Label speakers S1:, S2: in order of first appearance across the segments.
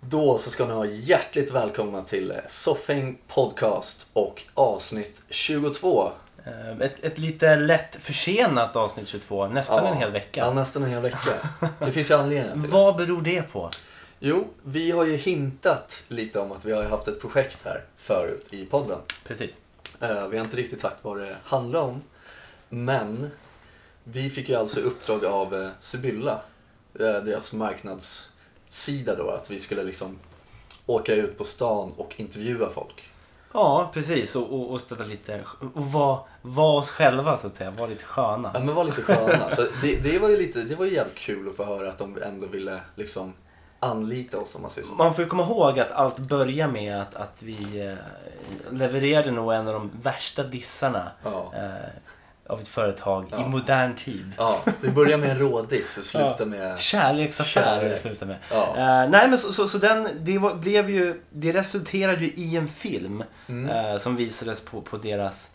S1: Då så ska ni vara hjärtligt välkomna till eh, Soffhäng Podcast och avsnitt 22.
S2: Eh, Ett, ett lite lätt försenat avsnitt 22, nästan
S1: Ja.
S2: en hel
S1: Ja,
S2: vecka.
S1: nästan en hel vecka. Det finns ju anledningar till det.
S2: Vad beror det på?
S1: Jo, vi har ju hintat lite om att vi har ju haft ett projekt här förut i podden.
S2: Precis.
S1: Eh, Vi har inte riktigt sagt vad det handlar om. Men vi fick ju alltså uppdrag av eh, Sibylla, eh, deras marknadssida då, att vi skulle liksom åka ut på stan och intervjua folk.
S2: Ja, precis. Och, och, och ställa lite... Och vara var oss själva så att säga. Var lite
S1: Ja
S2: sköna.
S1: men var lite sköna. Så det, det var ju lite, det var ju jävligt kul att få höra att de ändå ville liksom anlita oss om man säger så.
S2: Man får ju komma ihåg att allt börjar med att, att vi eh, levererade nog en av de värsta dissarna
S1: Ja.
S2: eh, av ett företag
S1: Ja.
S2: i modern tid.
S1: Ja, det börjar med en rådiss och slutar med...
S2: Kärleksaffär
S1: Kärlek.
S2: det slutar med.
S1: Ja.
S2: Eh, nej men så, så, så den, det var, blev ju, det resulterade ju i en film
S1: Mm.
S2: eh, som visades på, på deras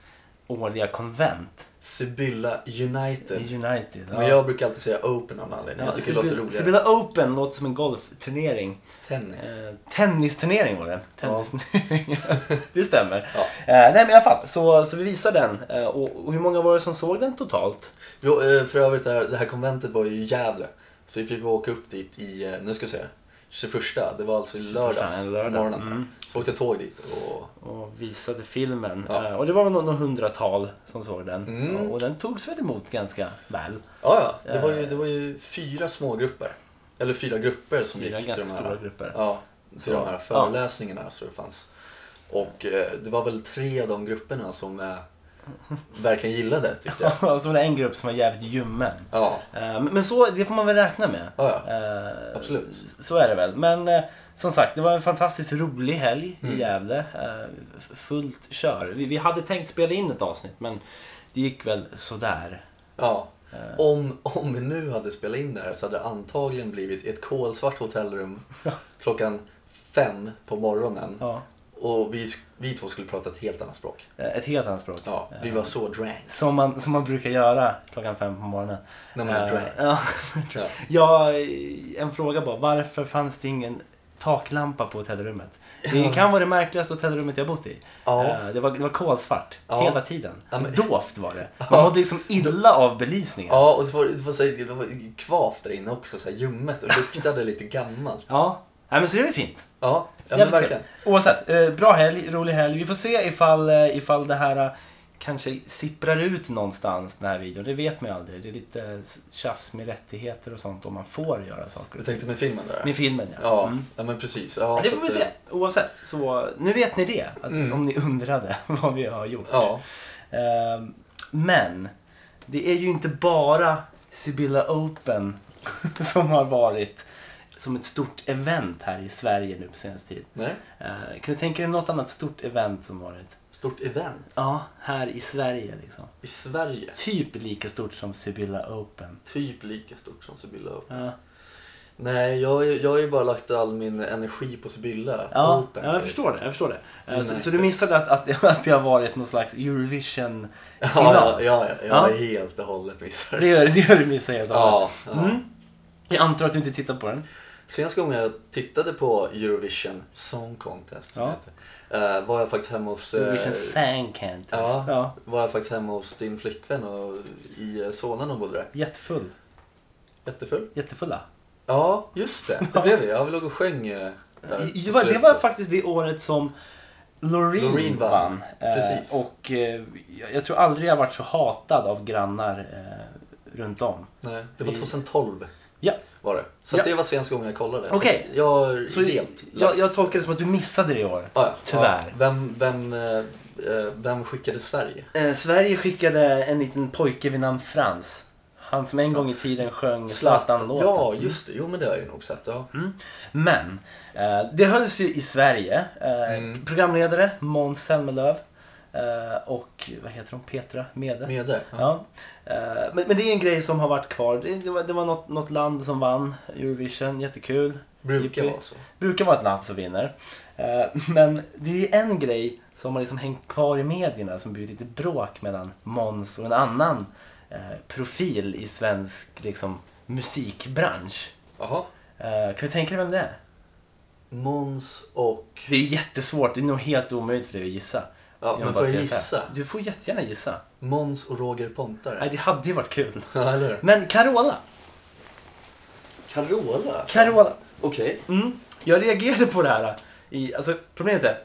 S2: årliga konvent.
S1: Sibylla United.
S2: I United.
S1: Men jag brukar alltid säga Open av någon anledning. Typ. Jag tycker det låter roligare.
S2: Sibylla Open låter som en golfturnering.
S1: Tennis.
S2: Eh, tennisturnering var det. Tennisturnering. det stämmer.
S1: Ja.
S2: Eh, nej men i alla fall, så, så vi visade den. Eh, och, och hur många var det som såg den totalt?
S1: Jo, eh, för övrigt, det här, det här konventet var ju i Gävle. Så vi fick åka upp dit i, eh, nu ska vi se, 21. Det var alltså i lördags,
S2: en lördag.
S1: morgonen.
S2: Mm.
S1: Så åkte jag tåg dit och
S2: och visade filmen.
S1: Ja.
S2: Eh, Och det var väl nå- några hundratal som såg den.
S1: Mm.
S2: Ja, Och den togs väl emot ganska väl.
S1: Ja, ja. Det var ju, det var ju fyra små grupper. Eller fyra grupper som
S2: Fyra
S1: gick
S2: ganska
S1: till de här,
S2: stora grupper.
S1: Ja, till
S2: Så,
S1: de här
S2: ja.
S1: föreläsningarna så det fanns. Och eh, det var väl tre av de grupperna som eh, verkligen gillade tyckte jag.
S2: Och så var det en grupp som var jävligt ljummen.
S1: Ja,
S2: Eh, Men men så, det får man väl räkna med.
S1: Ja, ja.
S2: Eh,
S1: Absolut.
S2: Så är det väl. Men eh, som sagt, det var en fantastiskt rolig helg
S1: Mm.
S2: i Gävle. Eh, f- Fullt kör. Vi, vi hade tänkt spela in ett avsnitt men det gick väl sådär.
S1: ja.
S2: Eh.
S1: Om, om vi nu hade spelat in det här så hade det antagligen blivit ett kolsvart hotellrum klockan fem på morgonen.
S2: Ja.
S1: Och vi, sk- vi två skulle prata ett helt annat språk.
S2: Eh, Ett helt annat språk.
S1: Ja, vi var så drank.
S2: Som man, som man brukar göra klockan fem på morgonen.
S1: När man är
S2: Eh,
S1: drag.
S2: ja.
S1: Ja.
S2: ja, en fråga bara. Varför fanns det ingen taklampa på hotellrummet? Det kan vara det märkligaste hotellrummet jag bott i.
S1: Ja.
S2: Eh, Det, var, det var kolsvart
S1: Ja.
S2: hela tiden.
S1: Ja, men-
S2: Dovt var det. Man mådde liksom illa av belysningen.
S1: Ja, och det var, det var, så här, det var kvavt där inne också, så här ljummet och luktade lite gammalt.
S2: Ja. Nej, men så det är ju fint.
S1: Ja, ja men
S2: Jävligt
S1: verkligen.
S2: trevligt. Oavsett, eh, bra helg, rolig helg. Vi får se ifall, eh, ifall det här eh, kanske sipprar ut någonstans, den här videon. Det vet man ju aldrig. Det är lite eh, tjafs med rättigheter och sånt om man får göra saker.
S1: Du tänkte med filmen där?
S2: Med filmen ja.
S1: Ja,
S2: Mm.
S1: ja men precis. Ja,
S2: Men det
S1: så
S2: får vi
S1: att,
S2: se.
S1: eh, Mm.
S2: Oavsett, så nu vet ni det. Att, Om ni undrade vad vi har gjort.
S1: Ja,
S2: Ehm, men, det är ju inte bara Sibylla Open som har varit som ett stort event här i Sverige nu på senaste tid.
S1: nej.
S2: Eh, kan du tänka dig något annat stort event som varit?
S1: Stort event
S2: Ja, här i Sverige liksom.
S1: i Sverige.
S2: Typ lika stort som Sibylla Open.
S1: Typ lika stort som Sibylla upp.
S2: Ja,
S1: Nej, jag, har ju- jag har ju bara lagt all min energi på Sibylla.
S2: ja,
S1: Open,
S2: ja
S1: kan
S2: jag
S1: säga.
S2: förstår det. Jag förstår det. Eh, så,
S1: United.
S2: så du missade att, att, att det har varit någon slags Eurovision-final?
S1: Ja, ja, ja, jag
S2: Ja.
S1: är helt och hållet missar.
S2: Det gör, det gör du missar helt och hållet.
S1: Ja, ja.
S2: Mm. Jag antar att du inte tittar på den.
S1: Senaste gången jag tittade på Eurovision Song Contest som
S2: Ja.
S1: heter, eh, var jag faktiskt hemma hos... eh,
S2: Eurovision Sang Contest.
S1: Ja.
S2: alltså. Ja.
S1: var jag faktiskt hemma hos din flickvän och i eh, Solna när hon bodde där.
S2: Jättefull.
S1: Jättefull.
S2: Jättefulla.
S1: Ja, just det. Det blev vi. Jag låg och sjöng eh, där på
S2: Det var, det
S1: slutet.
S2: var faktiskt det året som Loreen,
S1: Loreen vann.
S2: vann. Eh,
S1: Precis.
S2: Och eh, jag- jag tror aldrig jag varit så hatad av grannar eh, runt om.
S1: Nej, det var
S2: vi-
S1: 2012
S2: Ja.
S1: var det. Så att
S2: Ja.
S1: det var senaste gången jag kollade.
S2: Okej.
S1: Så att jag har
S2: Så
S1: helt...
S2: jag, jag tolkar det som att du missade det i år.
S1: Ja, ja.
S2: Tyvärr.
S1: Ja. Vem, vem, eh, eh, vem skickade Sverige?
S2: Eh, Sverige skickade en liten pojke vid namn Frans. Han som en gång i tiden sjöng Zlatan-låten.
S1: Ja, just det. Jo, men det har jag ju nog sett. Ja.
S2: Men eh, det hölls ju i Sverige. Eh, Programledare Måns Zelmerlöw eh, och vad heter hon? Petra Mede.
S1: Med det. Ja.
S2: Ja. Eh, men, men det är en grej som har varit kvar. Det, det var, det var något, något land som vann Eurovision, jättekul.
S1: Brukar
S2: Jippi.
S1: vara så.
S2: Brukar vara ett land som vinner. Eh, men det är ju en grej som har liksom hängt kvar i medierna som blivit lite bråk mellan Måns och en annan eh, profil i svensk liksom, musikbransch.
S1: Jaha.
S2: Eh, kan vi tänka dig vem det är?
S1: Måns och...
S2: Det är jättesvårt. Det är nog helt omöjligt för dig att gissa.
S1: Ja,
S2: vill
S1: men
S2: bara
S1: får jag
S2: säga så här.
S1: gissa?
S2: Du får jättegärna gissa.
S1: Måns och Roger
S2: Nej,
S1: Pontare.
S2: det hade ju varit kul.
S1: Ja, eller hur?
S2: Men Carola.
S1: Carola?
S2: Carola.
S1: Okej.
S2: Mm. Jag reagerade på det här. I, alltså, problemet är...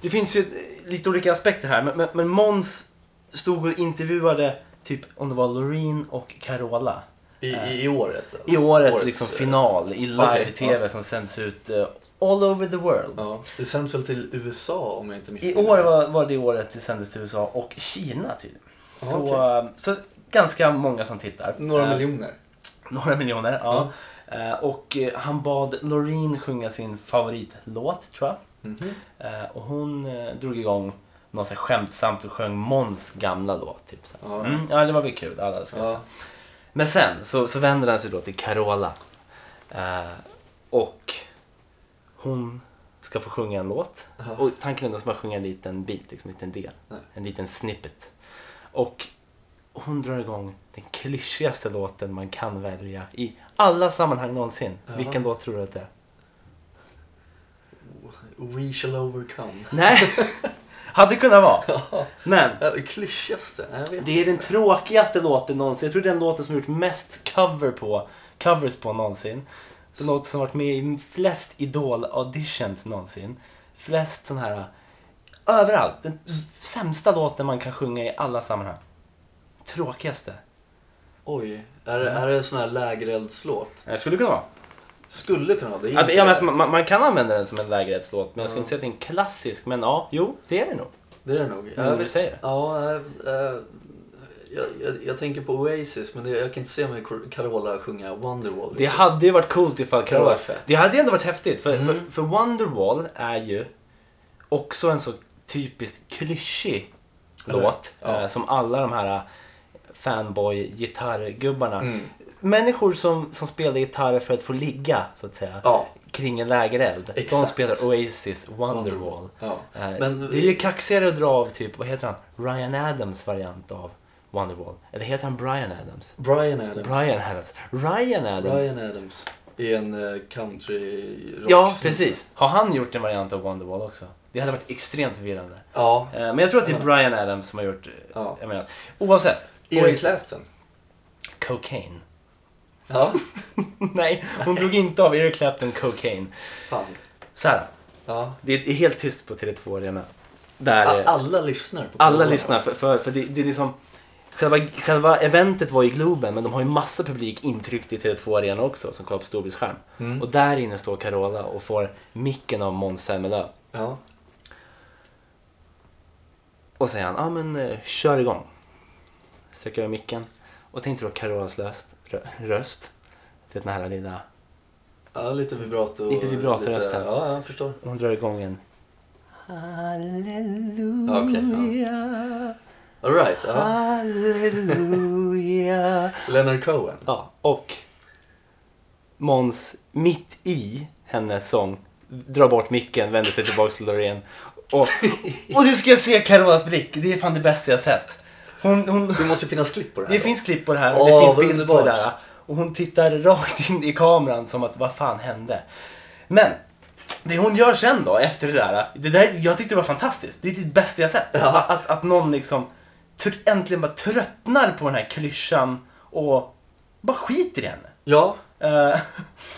S2: Det finns ju eh, lite olika aspekter här, men, men, men Måns stod och intervjuade typ om det var Loreen och Carola.
S1: I, i, I året? alltså.
S2: Eh, I årets, liksom,
S1: eh,
S2: final i live-tv
S1: Okej, ja.
S2: som sänds ut eh, all over the world.
S1: Ja, det sänds väl till USA om jag inte
S2: I
S1: missminner
S2: år
S1: mig.
S2: var, var det året det sändes till USA och Kina tydligen.
S1: Ja,
S2: Så,
S1: okej.
S2: eh, så ganska många som tittar.
S1: Några
S2: Eh,
S1: miljoner.
S2: Några miljoner, ja. Eh, Och eh, han bad Loreen sjunga sin favoritlåt, tror jag.
S1: Mhm.
S2: Eh, Och hon eh, drog igång något så här skämtsamt och sjöng Måns gamla låt. Typ, så. här.
S1: Ja.
S2: Mm, ja, det var väl kul. Alla ska.
S1: Ja.
S2: Men sen så, så vänder han sig då till Carola. Eh, och hon ska få sjunga en låt.
S1: Ja.
S2: Och tanken är att man ska bara sjunga en liten bit, liksom, en liten del.
S1: Nej.
S2: En liten snippet. Och hon drar igång den klyschigaste låten man kan välja i alla sammanhang någonsin.
S1: Ja.
S2: Vilken låt tror du att det är?
S1: We shall overcome.
S2: Nej! Hade kunnat vara. Men
S1: Äh, Klyschigaste? Nej, Jag vet
S2: det är den tråkigaste låten någonsin. Jag tror det är den låten som gjort mest cover på, covers på någonsin. Den låten som varit med i flest Idol-auditions någonsin. Flest sån här... Överallt. Den sämsta låten man kan sjunga i alla sammanhang. Tråkigaste.
S1: Oj, är det,
S2: Mm.
S1: är det en sån här lägereldslåt?
S2: Det skulle kunna vara.
S1: Skulle kunna vara det. är
S2: Ja,
S1: inte
S2: men,
S1: det.
S2: alltså, man, man kan använda den som en lägerhetslåt, men jag skulle
S1: Ja.
S2: inte säga att det är en klassisk. Men ja, jo, det är det nog.
S1: Det är det nog.
S2: Mm,
S1: Jag
S2: du
S1: vet-
S2: säger det.
S1: Ja, äh, äh, jag, jag, jag tänker på Oasis men det, jag kan inte se mig Cor- Carola sjunga Wonderwall.
S2: Det hade ju varit coolt ifall
S1: hade
S2: Carola...
S1: varit fett.
S2: Det hade ju ändå varit häftigt. För,
S1: Mm.
S2: för, för Wonderwall är ju också en så typiskt klyschig
S1: Eller?
S2: låt.
S1: Ja.
S2: Eh, som alla de här eh, fanboy-gitarrgubbarna.
S1: Mm.
S2: Människor som, som spelar gitarr för att få ligga, så att säga.
S1: Ja,
S2: Kring en lägereld. De
S1: Exakt.
S2: spelar Oasis Wonderwall.
S1: ja.
S2: Eh,
S1: Men-
S2: det är ju kaxigare att dra av typ, vad heter han? Ryan Adams variant av Wonderwall. Eller heter han Brian Adams?
S1: Brian Adams.
S2: Brian Adams. Ryan Adams.
S1: Bryan Adams. Är en eh, country rock
S2: Ja, precis. Har han gjort en variant av Wonderwall också? Det hade varit extremt förvirrande.
S1: Ja.
S2: Eh, Men jag tror att det är Brian Adams som har gjort... eh,
S1: Ja.
S2: Jag menar, oavsett.
S1: Eric
S2: Oasis.
S1: Clapton.
S2: Cocaine.
S1: Ja,
S2: Nej, hon drog inte av Eric Clapton cocaine.
S1: fan.
S2: Så här,
S1: Ja.
S2: det är helt tyst på Tele2 Arena. Där
S1: A-
S2: eh,
S1: Alla lyssnar på
S2: alla
S1: Carola.
S2: lyssnar, för, för, för det, det är liksom... Själva, själva eventet var i Globen, men de har ju massa publik intryckt i Tele2 Arena också, som kollar på storbildsskärm.
S1: Mm.
S2: Och där inne står Carola och får micken av Måns Zelmerlöw.
S1: Ja.
S2: Och säger han, ja ah, men eh, kör igång. Sträcker över micken. Och tänkte då Carolas löst, rö, röst. Det är den här lilla,
S1: ja, lite vibrato.
S2: Lite vibrato
S1: lite-
S2: rösten.
S1: Ja, jag förstår.
S2: hon drar igång en. Halleluja,
S1: Okej, Alright,
S2: Ah.
S1: ja.
S2: halleluja.
S1: Leonard Cohen.
S2: ja, och Måns mitt i hennes sång drar bort micken, vänder sig tillbaks till Loreen. Och, och du ska se Carolas blick, det är fan det bästa jag sett. Hon, hon,
S1: Det måste ju finnas klipp på det här.
S2: Det
S1: då.
S2: finns klipp på det här,
S1: Åh,
S2: det finns
S1: vad
S2: bild på det
S1: underbart.
S2: där. Och hon tittar rakt in i kameran som att vad fan hände? Men det hon gör sen då efter det där, det där jag tyckte det var fantastiskt. Det är det bästa jag sett. Att, att, att någon liksom tr- äntligen bara tröttnar på den här klyschan och bara skiter i henne.
S1: Ja,
S2: Eh,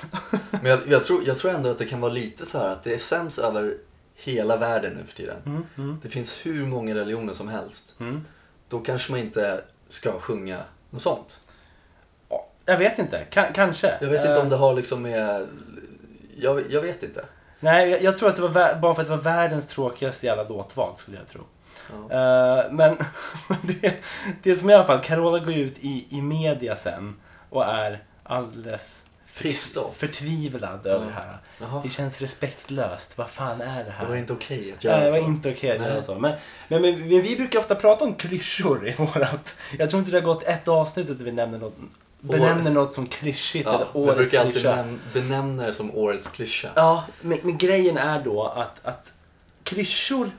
S1: Men jag, jag, tror, jag tror ändå att det kan vara lite så här att det sänds över hela världen nu för tiden.
S2: Mm,
S1: Det finns hur många religioner som helst. Då kanske man inte ska sjunga något sånt.
S2: ja, jag vet inte, Ka- kanske.
S1: Jag vet inte
S2: Eh,
S1: om det har liksom med... Jag, jag vet inte.
S2: Nej, jag, jag tror att det var vä- bara för att det var världens tråkigaste jävla låtval skulle jag tro.
S1: Ja.
S2: Eh, men det, det som i alla fall, Carola går ut i, i media sen och är alldeles
S1: Pissed off.
S2: förtvivlad över det här.
S1: Jaha.
S2: Det känns respektlöst. Vad fan är det här?
S1: Det var inte okej att
S2: Nej,
S1: göra
S2: det var
S1: så.
S2: inte okej att
S1: Nej.
S2: göra så. Men, men, men, men vi brukar ofta prata om klyschor i vårat... Jag tror inte det har gått ett avsnitt utan vi nämner något, benämner något som klyschigt
S1: Ja,
S2: eller
S1: vi
S2: årets
S1: brukar alltid
S2: klyscha.
S1: benäm- benämna det som årets klyscha.
S2: Ja, men, men grejen är då att, att klyschor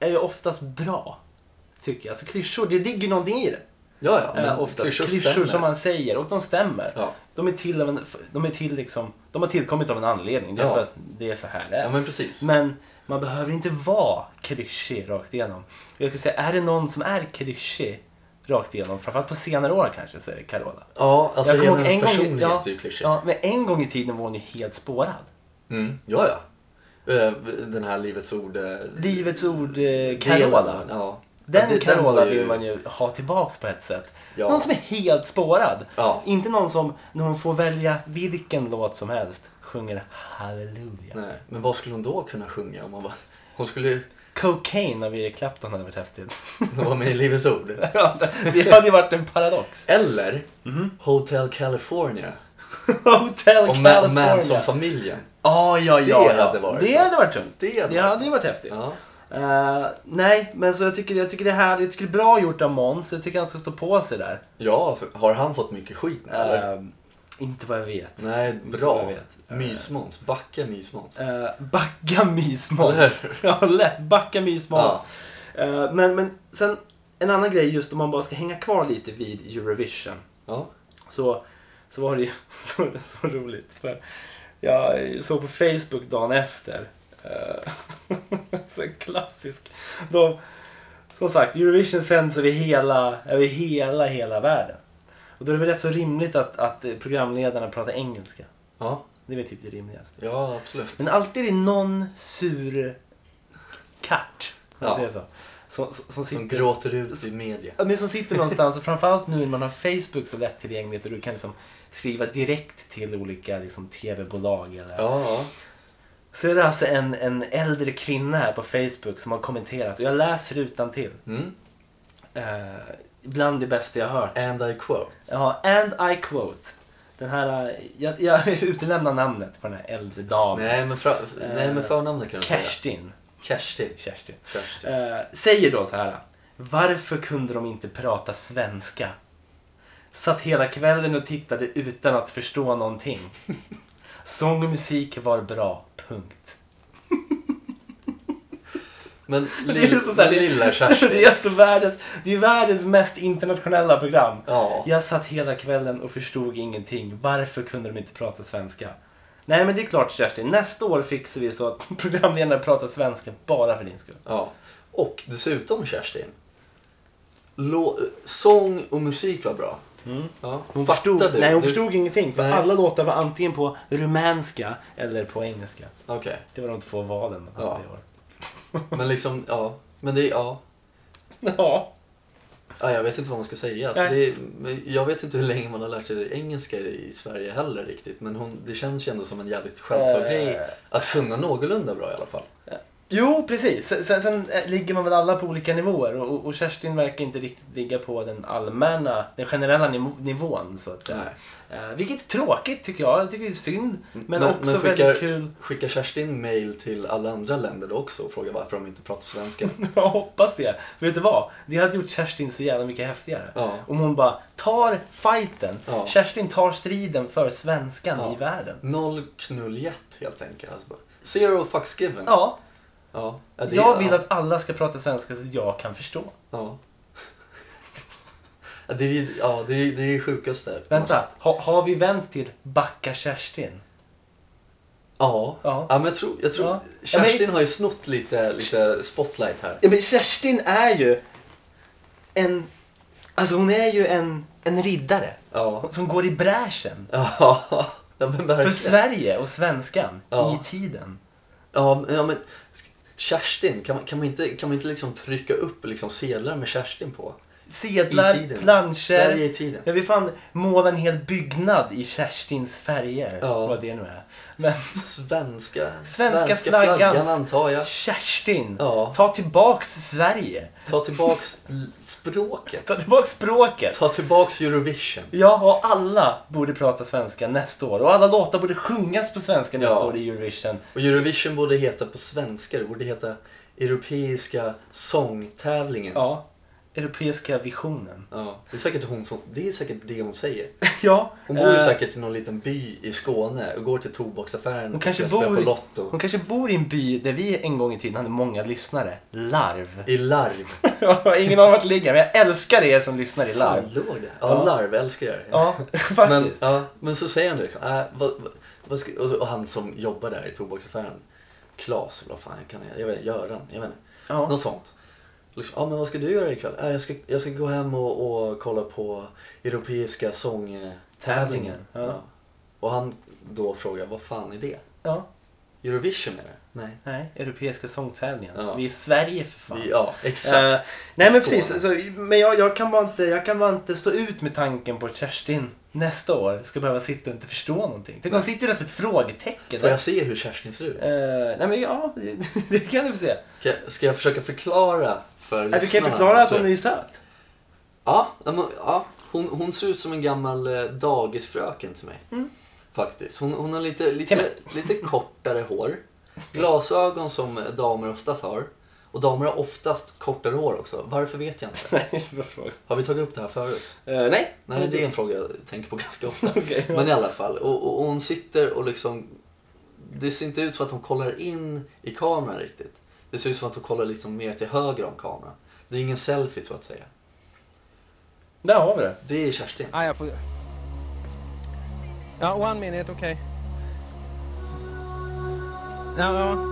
S2: är ju oftast bra. Tycker jag. Alltså klyschor, det ligger någonting i det.
S1: Ja, ja.
S2: Eh, oftast klyschor
S1: stämmer.
S2: som man säger och de stämmer.
S1: Ja.
S2: De är till av en, de är till liksom, de har tillkommit av en anledning. Det är
S1: Ja.
S2: för att det är så här det är.
S1: ja, men precis.
S2: Men man behöver inte vara klyschig rakt igenom. Jag skulle säga, är det någon som är klyschig rakt igenom, framförallt på senare år kanske, så är det Carola.
S1: Ja, alltså
S2: kommer ihåg
S1: hela hennes
S2: i-
S1: personlighet är ju klyschig.
S2: ja, men en gång i tiden var hon ju helt spårad.
S1: Mm, ja, ja. Eh, Den här Livets ord... eh,
S2: Livets ord eh,
S1: delen,
S2: Carola.
S1: Ja.
S2: Den
S1: Det-
S2: Carola
S1: var ju-
S2: vill man ju ha tillbaks på ett sätt.
S1: Ja.
S2: Någon som är helt spårad.
S1: Ja.
S2: Inte någon som, när hon får välja vilken låt som helst, sjunger halleluja.
S1: Nej, men vad skulle hon då kunna sjunga? Om hon, var... hon skulle ju
S2: Cocaine av Eric Clapton hade varit häftigt.
S1: vara med i Livets ord.
S2: Ja, det hade ju varit en paradox.
S1: Eller Hotel California.
S2: Mhm. Hotel
S1: Och Ma-
S2: California.
S1: Manson-familjen.
S2: Ja, ja,
S1: Det
S2: ja. ja.
S1: hade varit
S2: det
S1: något.
S2: hade varit tungt.
S1: Det hade
S2: Det
S1: varit
S2: hade ju varit häftigt.
S1: Ja.
S2: Eh, nej, men så jag tycker, jag tycker det här, jag tycker det är bra gjort av Måns. Jag tycker han ska stå på sig där.
S1: ja, för- har han fått mycket skit nu eller?
S2: Eh, inte vad jag vet.
S1: Nej,
S2: jag
S1: bra.
S2: vet.
S1: Mysmåns. Backa Mysmåns.
S2: Eh, backa mysmåns. ja, lätt. Backa mysmåns. Eh, men, men sen en annan grej just om man bara ska hänga kvar lite vid Eurovision.
S1: Ja.
S2: så, så var det ju så, så roligt. För jag såg på Facebook dagen efter. eh, så en klassisk. De, som sagt, Eurovision sänds över hela, över hela, hela världen. Och då är det väl rätt så rimligt att, att programledarna pratar engelska.
S1: Ja.
S2: Det är väl typ det rimligaste.
S1: ja, absolut.
S2: Men alltid är det någon sur katt, om man
S1: Ja.
S2: säger så, som, som, som
S1: Som
S2: sitter
S1: gråter ut i media.
S2: Ja, men som sitter någonstans och framförallt nu när man har Facebook så lättillgängligt och du kan liksom skriva direkt till olika liksom, tv-bolag. Eller.
S1: Ja, ja.
S2: Så är det alltså en, en äldre kvinna här på Facebook som har kommenterat och jag läser utan till.
S1: Mm.
S2: Eh, bland det bästa jag hört.
S1: And I quote.
S2: Ja, and I quote. Den här, eh, jag, jag utelämnar namnet på den här äldre damen.
S1: Nej, men, fra... Nej, men förnamnet kan du säga.
S2: Eh, Kerstin.
S1: Kerstin.
S2: Kerstin.
S1: Kerstin.
S2: Eh, säger då så här. Varför kunde de inte prata svenska? Satt hela kvällen och tittade utan att förstå någonting. Sång och musik var bra, punkt.
S1: Men,
S2: Det är
S1: lill-
S2: liksom så här-
S1: men lilla
S2: Det
S1: Kerstin.
S2: är alltså världens, det är världens mest internationella program.
S1: Ja.
S2: Jag satt hela kvällen och förstod ingenting. Varför kunde de inte prata svenska? Nej men det är klart Kerstin, nästa år fixar vi så att programledarna pratar svenska bara för din skull.
S1: ja. Och dessutom Kerstin. Lå... Sång och musik var bra. Ja.
S2: Mm. Hon
S1: Fattar
S2: förstod,
S1: du?
S2: nej, hon
S1: Du-
S2: förstod ingenting för
S1: Nej.
S2: alla låtar var antingen på rumänska eller på engelska.
S1: Okej.
S2: Det var de två valen man hade
S1: Ja.
S2: i år.
S1: Men liksom, ja. Men det är, ja.
S2: Ja.
S1: Ja, jag vet inte vad man ska säga. Alltså,
S2: Nej.
S1: det är, men jag vet inte hur länge man har lärt sig engelska i Sverige heller riktigt. Men hon, det känns ju ändå som en jävligt självklar
S2: Eh.
S1: grej att kunna någorlunda bra i alla fall.
S2: Jo, precis. Sen, sen, sen eh, ligger man väl alla på olika nivåer och, och- och Kerstin verkar inte riktigt ligga på den allmänna, den generella niv- nivån så att säga. Eh, vilket är tråkigt tycker jag. Jag tycker det är synd. Men, också väldigt kul.
S1: Skickar Kerstin mail till alla andra länder då också och frågar varför de inte pratar svenska?
S2: Jag hoppas det. För vet du vad? Det hade gjort Kerstin så jävla mycket häftigare.
S1: Ja.
S2: Om hon bara tar fighten.
S1: Ja.
S2: Kerstin tar striden för svenskan
S1: Ja.
S2: i världen.
S1: Noll knulljätt helt enkelt. Alltså, bara, Zero fucks given.
S2: Ja,
S1: Ja. Ja, det-
S2: jag vill
S1: ja.
S2: att alla ska prata svenska så att jag kan förstå.
S1: Ja. Ja, Det är ju ja, det, är, det, är det sjukaste.
S2: Vänta, ha, har vi vänt till Backa Kerstin?
S1: Ja.
S2: Ja.
S1: ja. men jag tror, jag tror
S2: Ja. Ja, men-
S1: Kerstin har ju snott lite, lite spotlight här.
S2: Ja, men Kerstin är ju en... Alltså hon är ju en, en riddare.
S1: Ja.
S2: Som går i bräschen.
S1: Ja, ja men
S2: För
S1: verkligen.
S2: Sverige och svenskan
S1: Ja.
S2: i tiden.
S1: Ja, men- ja, men Kerstin, kan man, kan man inte, kan man inte liksom trycka upp liksom sedlar med Kerstin på? I
S2: Sedlar,
S1: tiden. Sverige
S2: planscher.
S1: i tiden.
S2: Ja, vi fan måla en hel byggnad i Kerstins färger.
S1: Ja.
S2: Vad det nu är. Men
S1: Svenska,
S2: svenska,
S1: flaggan,
S2: flaggans
S1: antar jag.
S2: Kerstin,
S1: Ja.
S2: ta tillbaks Sverige.
S1: Ta tillbaks l- språket.
S2: Ta tillbaks språket.
S1: Ta tillbaks Eurovision.
S2: Ja, och alla borde prata svenska nästa år. Och alla låtar borde sjungas på svenska nästa
S1: Ja.
S2: år i Eurovision.
S1: Och Eurovision borde heta på svenska, det borde heta Europeiska sångtävlingen.
S2: Ja. europeiska visionen.
S1: Ja, det, är säkert hon som, det är säkert det hon säger.
S2: ja,
S1: Hon bor ju
S2: eh,
S1: säkert i någon liten by i Skåne och går till tobaksaffären
S2: Hon
S1: och ska
S2: kanske
S1: spela
S2: bor
S1: på
S2: i-
S1: Lotto.
S2: hon kanske bor i en by där vi en gång i tiden hade många lyssnare. Larv.
S1: I Larv.
S2: Jag har ingen aning vart det ligger, men jag älskar er som lyssnar i
S1: Fan,
S2: larv.
S1: låg det? Ja,
S2: Ja.
S1: Larv älskar jag.
S2: Ja,
S1: men,
S2: faktiskt.
S1: ja, men så säger han liksom, äh, vad, vad, vad ska, och, och han som jobbar där i tobaksaffären, Klas, eller vad fan kan jag, jag vet, Göran, jag vet inte.
S2: ja.
S1: Något sånt. Liksom, ja men vad ska du göra ikväll? Äh, jag, ska, jag ska gå hem och, och kolla på europeiska sångtävlingar.
S2: Mm, Ja.
S1: Och han då frågar, vad fan är det?
S2: ja.
S1: Eurovision är det? Nej.
S2: Nej, Europeiska sångtävlingen.
S1: Ja.
S2: Vi är i Sverige för fan.
S1: Vi, ja, exakt.
S2: Eh, nej
S1: Skåne.
S2: men precis, alltså, men jag, jag, kan bara inte, jag kan bara inte stå ut med tanken på att Kerstin nästa år ska behöva sitta och inte förstå någonting. Tänk, hon
S1: Nej.
S2: sitter där som ett frågetecken.
S1: Får jag se hur Kerstin ser ut?
S2: Eh, nej men ja, det- det kan du få se.
S1: Ska jag, ska jag försöka förklara för
S2: Nej, du kan ju
S1: lyssnarna?
S2: förklara att
S1: Så-
S2: hon är söt.
S1: Ja, ja, men, ja hon, hon ser ut som en gammal eh, dagisfröken till mig. Faktiskt. Hon, hon har lite,
S2: Mm. Till
S1: lite,
S2: mig.
S1: lite kortare hår. Glasögon som damer oftast har. Och damer har oftast kortare hår också. Varför vet jag inte.
S2: nej, bra fråga.
S1: Har vi tagit upp det här förut?
S2: Eh, nej.
S1: Nej, det är en fråga jag tänker på ganska ofta.
S2: Okej, ja.
S1: Men i alla fall, och, och, och hon sitter och liksom... Det ser inte ut som att hon kollar in i kameran riktigt. Det ser ut som att hon kollar liksom mer till höger om kameran. Det är ingen selfie så att säga.
S2: Där har vi det.
S1: Det är Kerstin.
S3: Ah, jag får... Ja, one minute, okej. Ja, ja.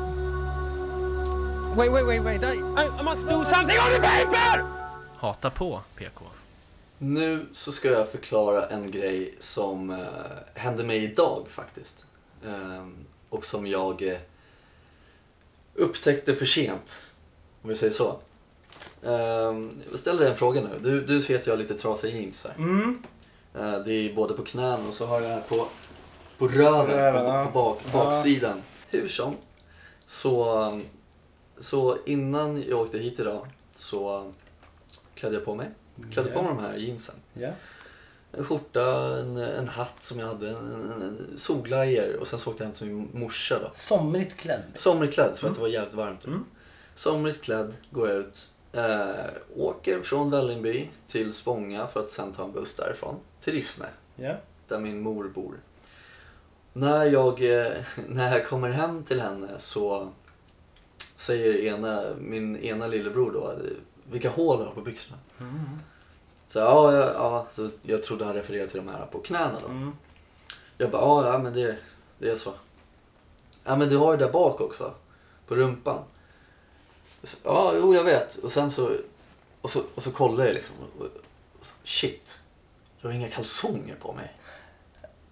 S3: Wait, wait, wait, wait. I, I- I must do something on the paper!
S2: Hata på PK.
S1: Nu så ska jag förklara en grej som eh, hände mig idag faktiskt. Ehm, och som jag eh, upptäckte för sent, om vi säger så. Ehm, jag ställer dig en fråga nu. Du, du ser att jag har lite trasiga jeans här.
S2: Mm.
S1: Eh, det är både på knän och så har jag här på, på röven,
S2: Röven,
S1: på,
S2: ja.
S1: på bak,
S2: Ja.
S1: baksidan. Hur som, så, så innan jag åkte hit idag så klädde jag på mig. Klädde på mig de här jeansen.
S2: Ja.
S1: En skjorta, en, en hatt som jag hade, en, en, en solglajjor och sen så åkte jag hem till min morsa då.
S2: Somrigt klädd.
S1: Somrigt klädd för att det var jävligt varmt.
S2: Mm.
S1: Somrigt klädd går jag ut, eh, åker från Vällingby till Spånga för att sen ta en buss därifrån till Rissne
S2: Ja.
S1: där min mor bor. När jag, eh, när jag kommer hem till henne så säger ena, min ena lillebror då eh, vilka hål du har på byxorna.
S2: Mm.
S1: Så ja, ja, ja så jag trodde han refererade till de här på knäna då.
S2: Mm.
S1: Jag bara, ja, ja men det, det är så. Ja men du har ju där bak också. På rumpan. Så, ja, jo jag vet. Och sen så, och så, och så kollar jag liksom. Och, och så, shit, jag har inga kalsonger på mig.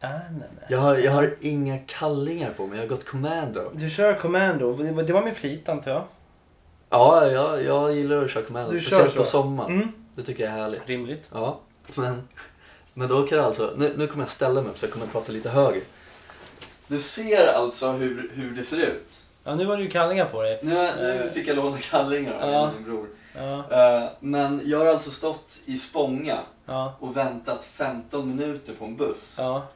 S2: Ah, nej, nej.
S1: Jag har, jag har inga kallingar på mig, jag har gått commando.
S2: Du kör commando. Det var, det var min flit antar jag.
S1: Ja, jag, jag gillar att köra commando,
S2: Du
S1: speciellt
S2: kör så.
S1: på sommaren.
S2: Mm.
S1: Det tycker jag är härligt.
S2: Rimligt.
S1: Ja, men, men då kan jag alltså... Nu, nu kommer jag ställa mig upp så jag kommer att prata lite högre. Du ser alltså hur, hur det ser ut.
S2: Ja, nu var det ju kallingar på dig.
S1: Nu, nu
S2: Eh.
S1: fick jag låna kallingar av
S2: Ja.
S1: min bror.
S2: Ja.
S1: Eh, Men jag har alltså stått i Spånga
S2: Ja.
S1: och väntat 15 minuter på en buss.
S2: Ja,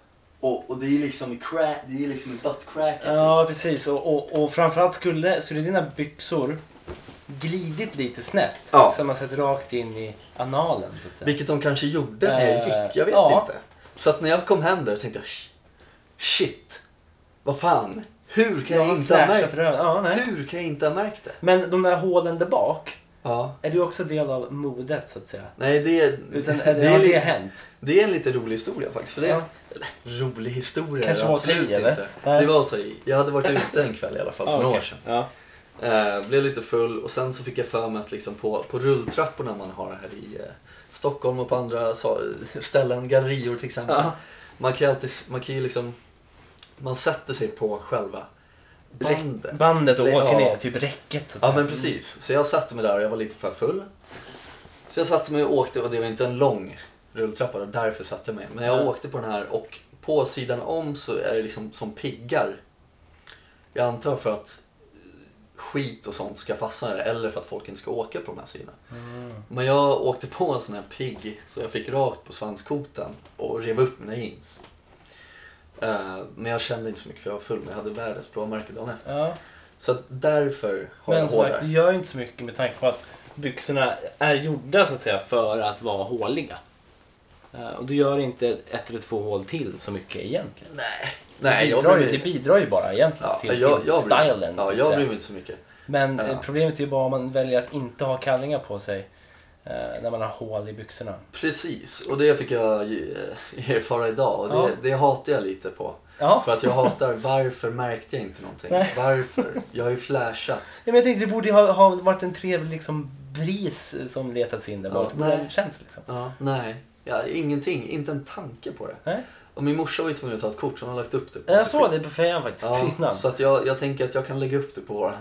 S1: Och, och det är liksom i crack, det är liksom i butt crack.
S2: ja precis. Och, och, och framförallt skulle, skulle dina byxor glidit lite snett
S1: Ja.
S2: så man sett rakt in i analen. Så att säga.
S1: Vilket de kanske gjorde när jag
S2: Eh,
S1: gick, jag vet
S2: ja.
S1: inte. Så att när jag kom hem där tänkte jag "Sh- shit, vad fan, hur kan jag,
S2: har
S1: inte ha
S2: flashat
S1: märkt
S2: röven. Ja, nej.
S1: Hur kan jag inte ha märkt det?
S2: Men de där hålen där bak,
S1: Ja,
S2: är du också del av modet så att säga?
S1: nej det är,
S2: Utan,
S1: det,
S2: eller
S1: är
S2: har
S1: li-
S2: det hänt?
S1: det är en lite rolig historia faktiskt. För det,
S2: Ja.
S1: eller, rolig historia
S2: Kanske
S1: är det
S2: var att ta i,
S1: absolut
S2: eller?
S1: inte.
S2: Nej.
S1: Det var att ta i. Jag hade varit ute en kväll i alla fall för
S2: Ja,
S1: några
S2: okej.
S1: år sedan.
S2: Ja.
S1: Eh, blev lite full och sen så fick jag för mig att liksom på, på rulltrapporna man har här i eh, Stockholm och på andra sa- ställen, gallerior till exempel.
S2: Ja.
S1: Man kan ju alltid, man kan ju liksom, man sätter sig på själva bandet.
S2: Bandet och
S1: Ja.
S2: åker ner, typ räcket så att
S1: Ja
S2: säga.
S1: men precis, så jag satte mig där och jag var lite för full. Så jag satte mig och åkte och det var inte en lång rulltrappa och därför satte jag mig. Men jag
S2: Ja.
S1: åkte på den här och på sidan om så är det liksom som piggar. Jag antar för att skit och sånt ska fastna där eller för att folk inte ska åka på de här sidorna.
S2: Mm.
S1: Men jag åkte på en sån här pigg så jag fick rakt på svanskotan och rev upp mina jeans. Eh, men jag kände inte så mycket för jag var full men jag hade världens blåmärke dagen efter.
S2: Ja.
S1: Så att därför har
S2: Men
S1: jag
S2: som
S1: hår
S2: sagt,
S1: där.
S2: det gör ju inte så mycket med tanke på att byxorna är gjorda så att säga för att vara håliga. Eh, Och du gör inte ett eller två hål till så mycket egentligen.
S1: Nej, nej
S2: det,
S1: jag
S2: bidrar
S1: bryr
S2: ju, det
S1: mig
S2: bidrar ju bara egentligen
S1: ja,
S2: till,
S1: jag,
S2: till
S1: jag, jag, bryr-
S2: stylen. så
S1: ja,
S2: att
S1: jag
S2: säga.
S1: bryr mig inte så mycket.
S2: Men eh,
S1: Ja.
S2: problemet är ju bara om man väljer att inte ha kallingar på sig eh, när man har hål i byxorna.
S1: Precis, och det fick jag ju, eh, erfara idag och det,
S2: Ja.
S1: det hatar jag lite på.
S2: Ja.
S1: För att jag hatar varför märkte jag inte någonting?
S2: Nej.
S1: Varför? Jag har ju flashat.
S2: Ja, men jag tänkte det borde ju ha, ha varit en trevlig liksom, bris som letats in där
S1: Ja,
S2: bak. men
S1: nej.
S2: den känns liksom.
S1: Ja, nej, ja, ingenting, inte en tanke på det.
S2: Nej.
S1: Och min morsa var ju tvungen att ta ett kort så hon har lagt upp det. På
S2: Jag
S1: sitt
S2: såg det på fejan faktiskt
S1: Ja,
S2: innan.
S1: Så att jag, jag tänker att jag kan lägga upp det på vår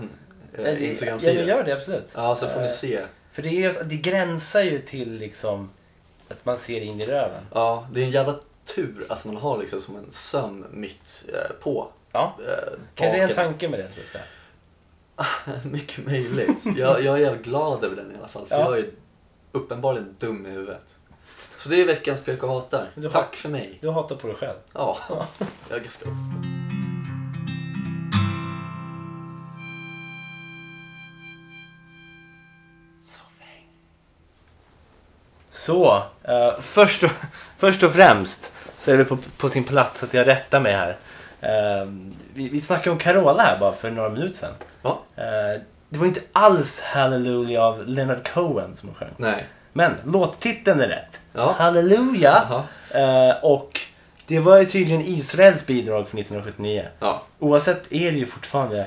S2: Eh, det- ja,
S1: Instagram-sida.
S2: jag gör det absolut.
S1: Ja, så får ni
S2: Eh,
S1: se.
S2: För det, är, ju- alltså, det gränsar ju till liksom att man ser in i röven.
S1: Ja, det är en jävla tur att man har liksom som en söm mitt eh, på.
S2: Ja,
S1: Eh,
S2: kanske är en
S1: baken.
S2: tanke med det så att säga.
S1: Mycket möjligt. Jag, jag är jävligt glad över den i alla fall. För
S2: Ja.
S1: jag är uppenbarligen dum i huvudet. Så det är veckans pek och hatar.
S2: Du har-
S1: Tack för mig.
S2: Du hatar på dig själv.
S1: Ja, jag är ganska...
S2: Så, eh, först, och, först och främst så är det på, på sin plats att jag rättar mig här. Eh, vi, vi snackade om Carola här bara för några minuter sedan.
S1: Ja.
S2: Eh, det var inte alls Hallelujah av Leonard Cohen som hon sjöng.
S1: Nej.
S2: Men låttiteln är rätt.
S1: Ja.
S2: Hallelujah!
S1: Jaha.
S2: Eh, och det var ju tydligen Israels bidrag från 1979.
S1: Ja.
S2: Oavsett är det ju fortfarande...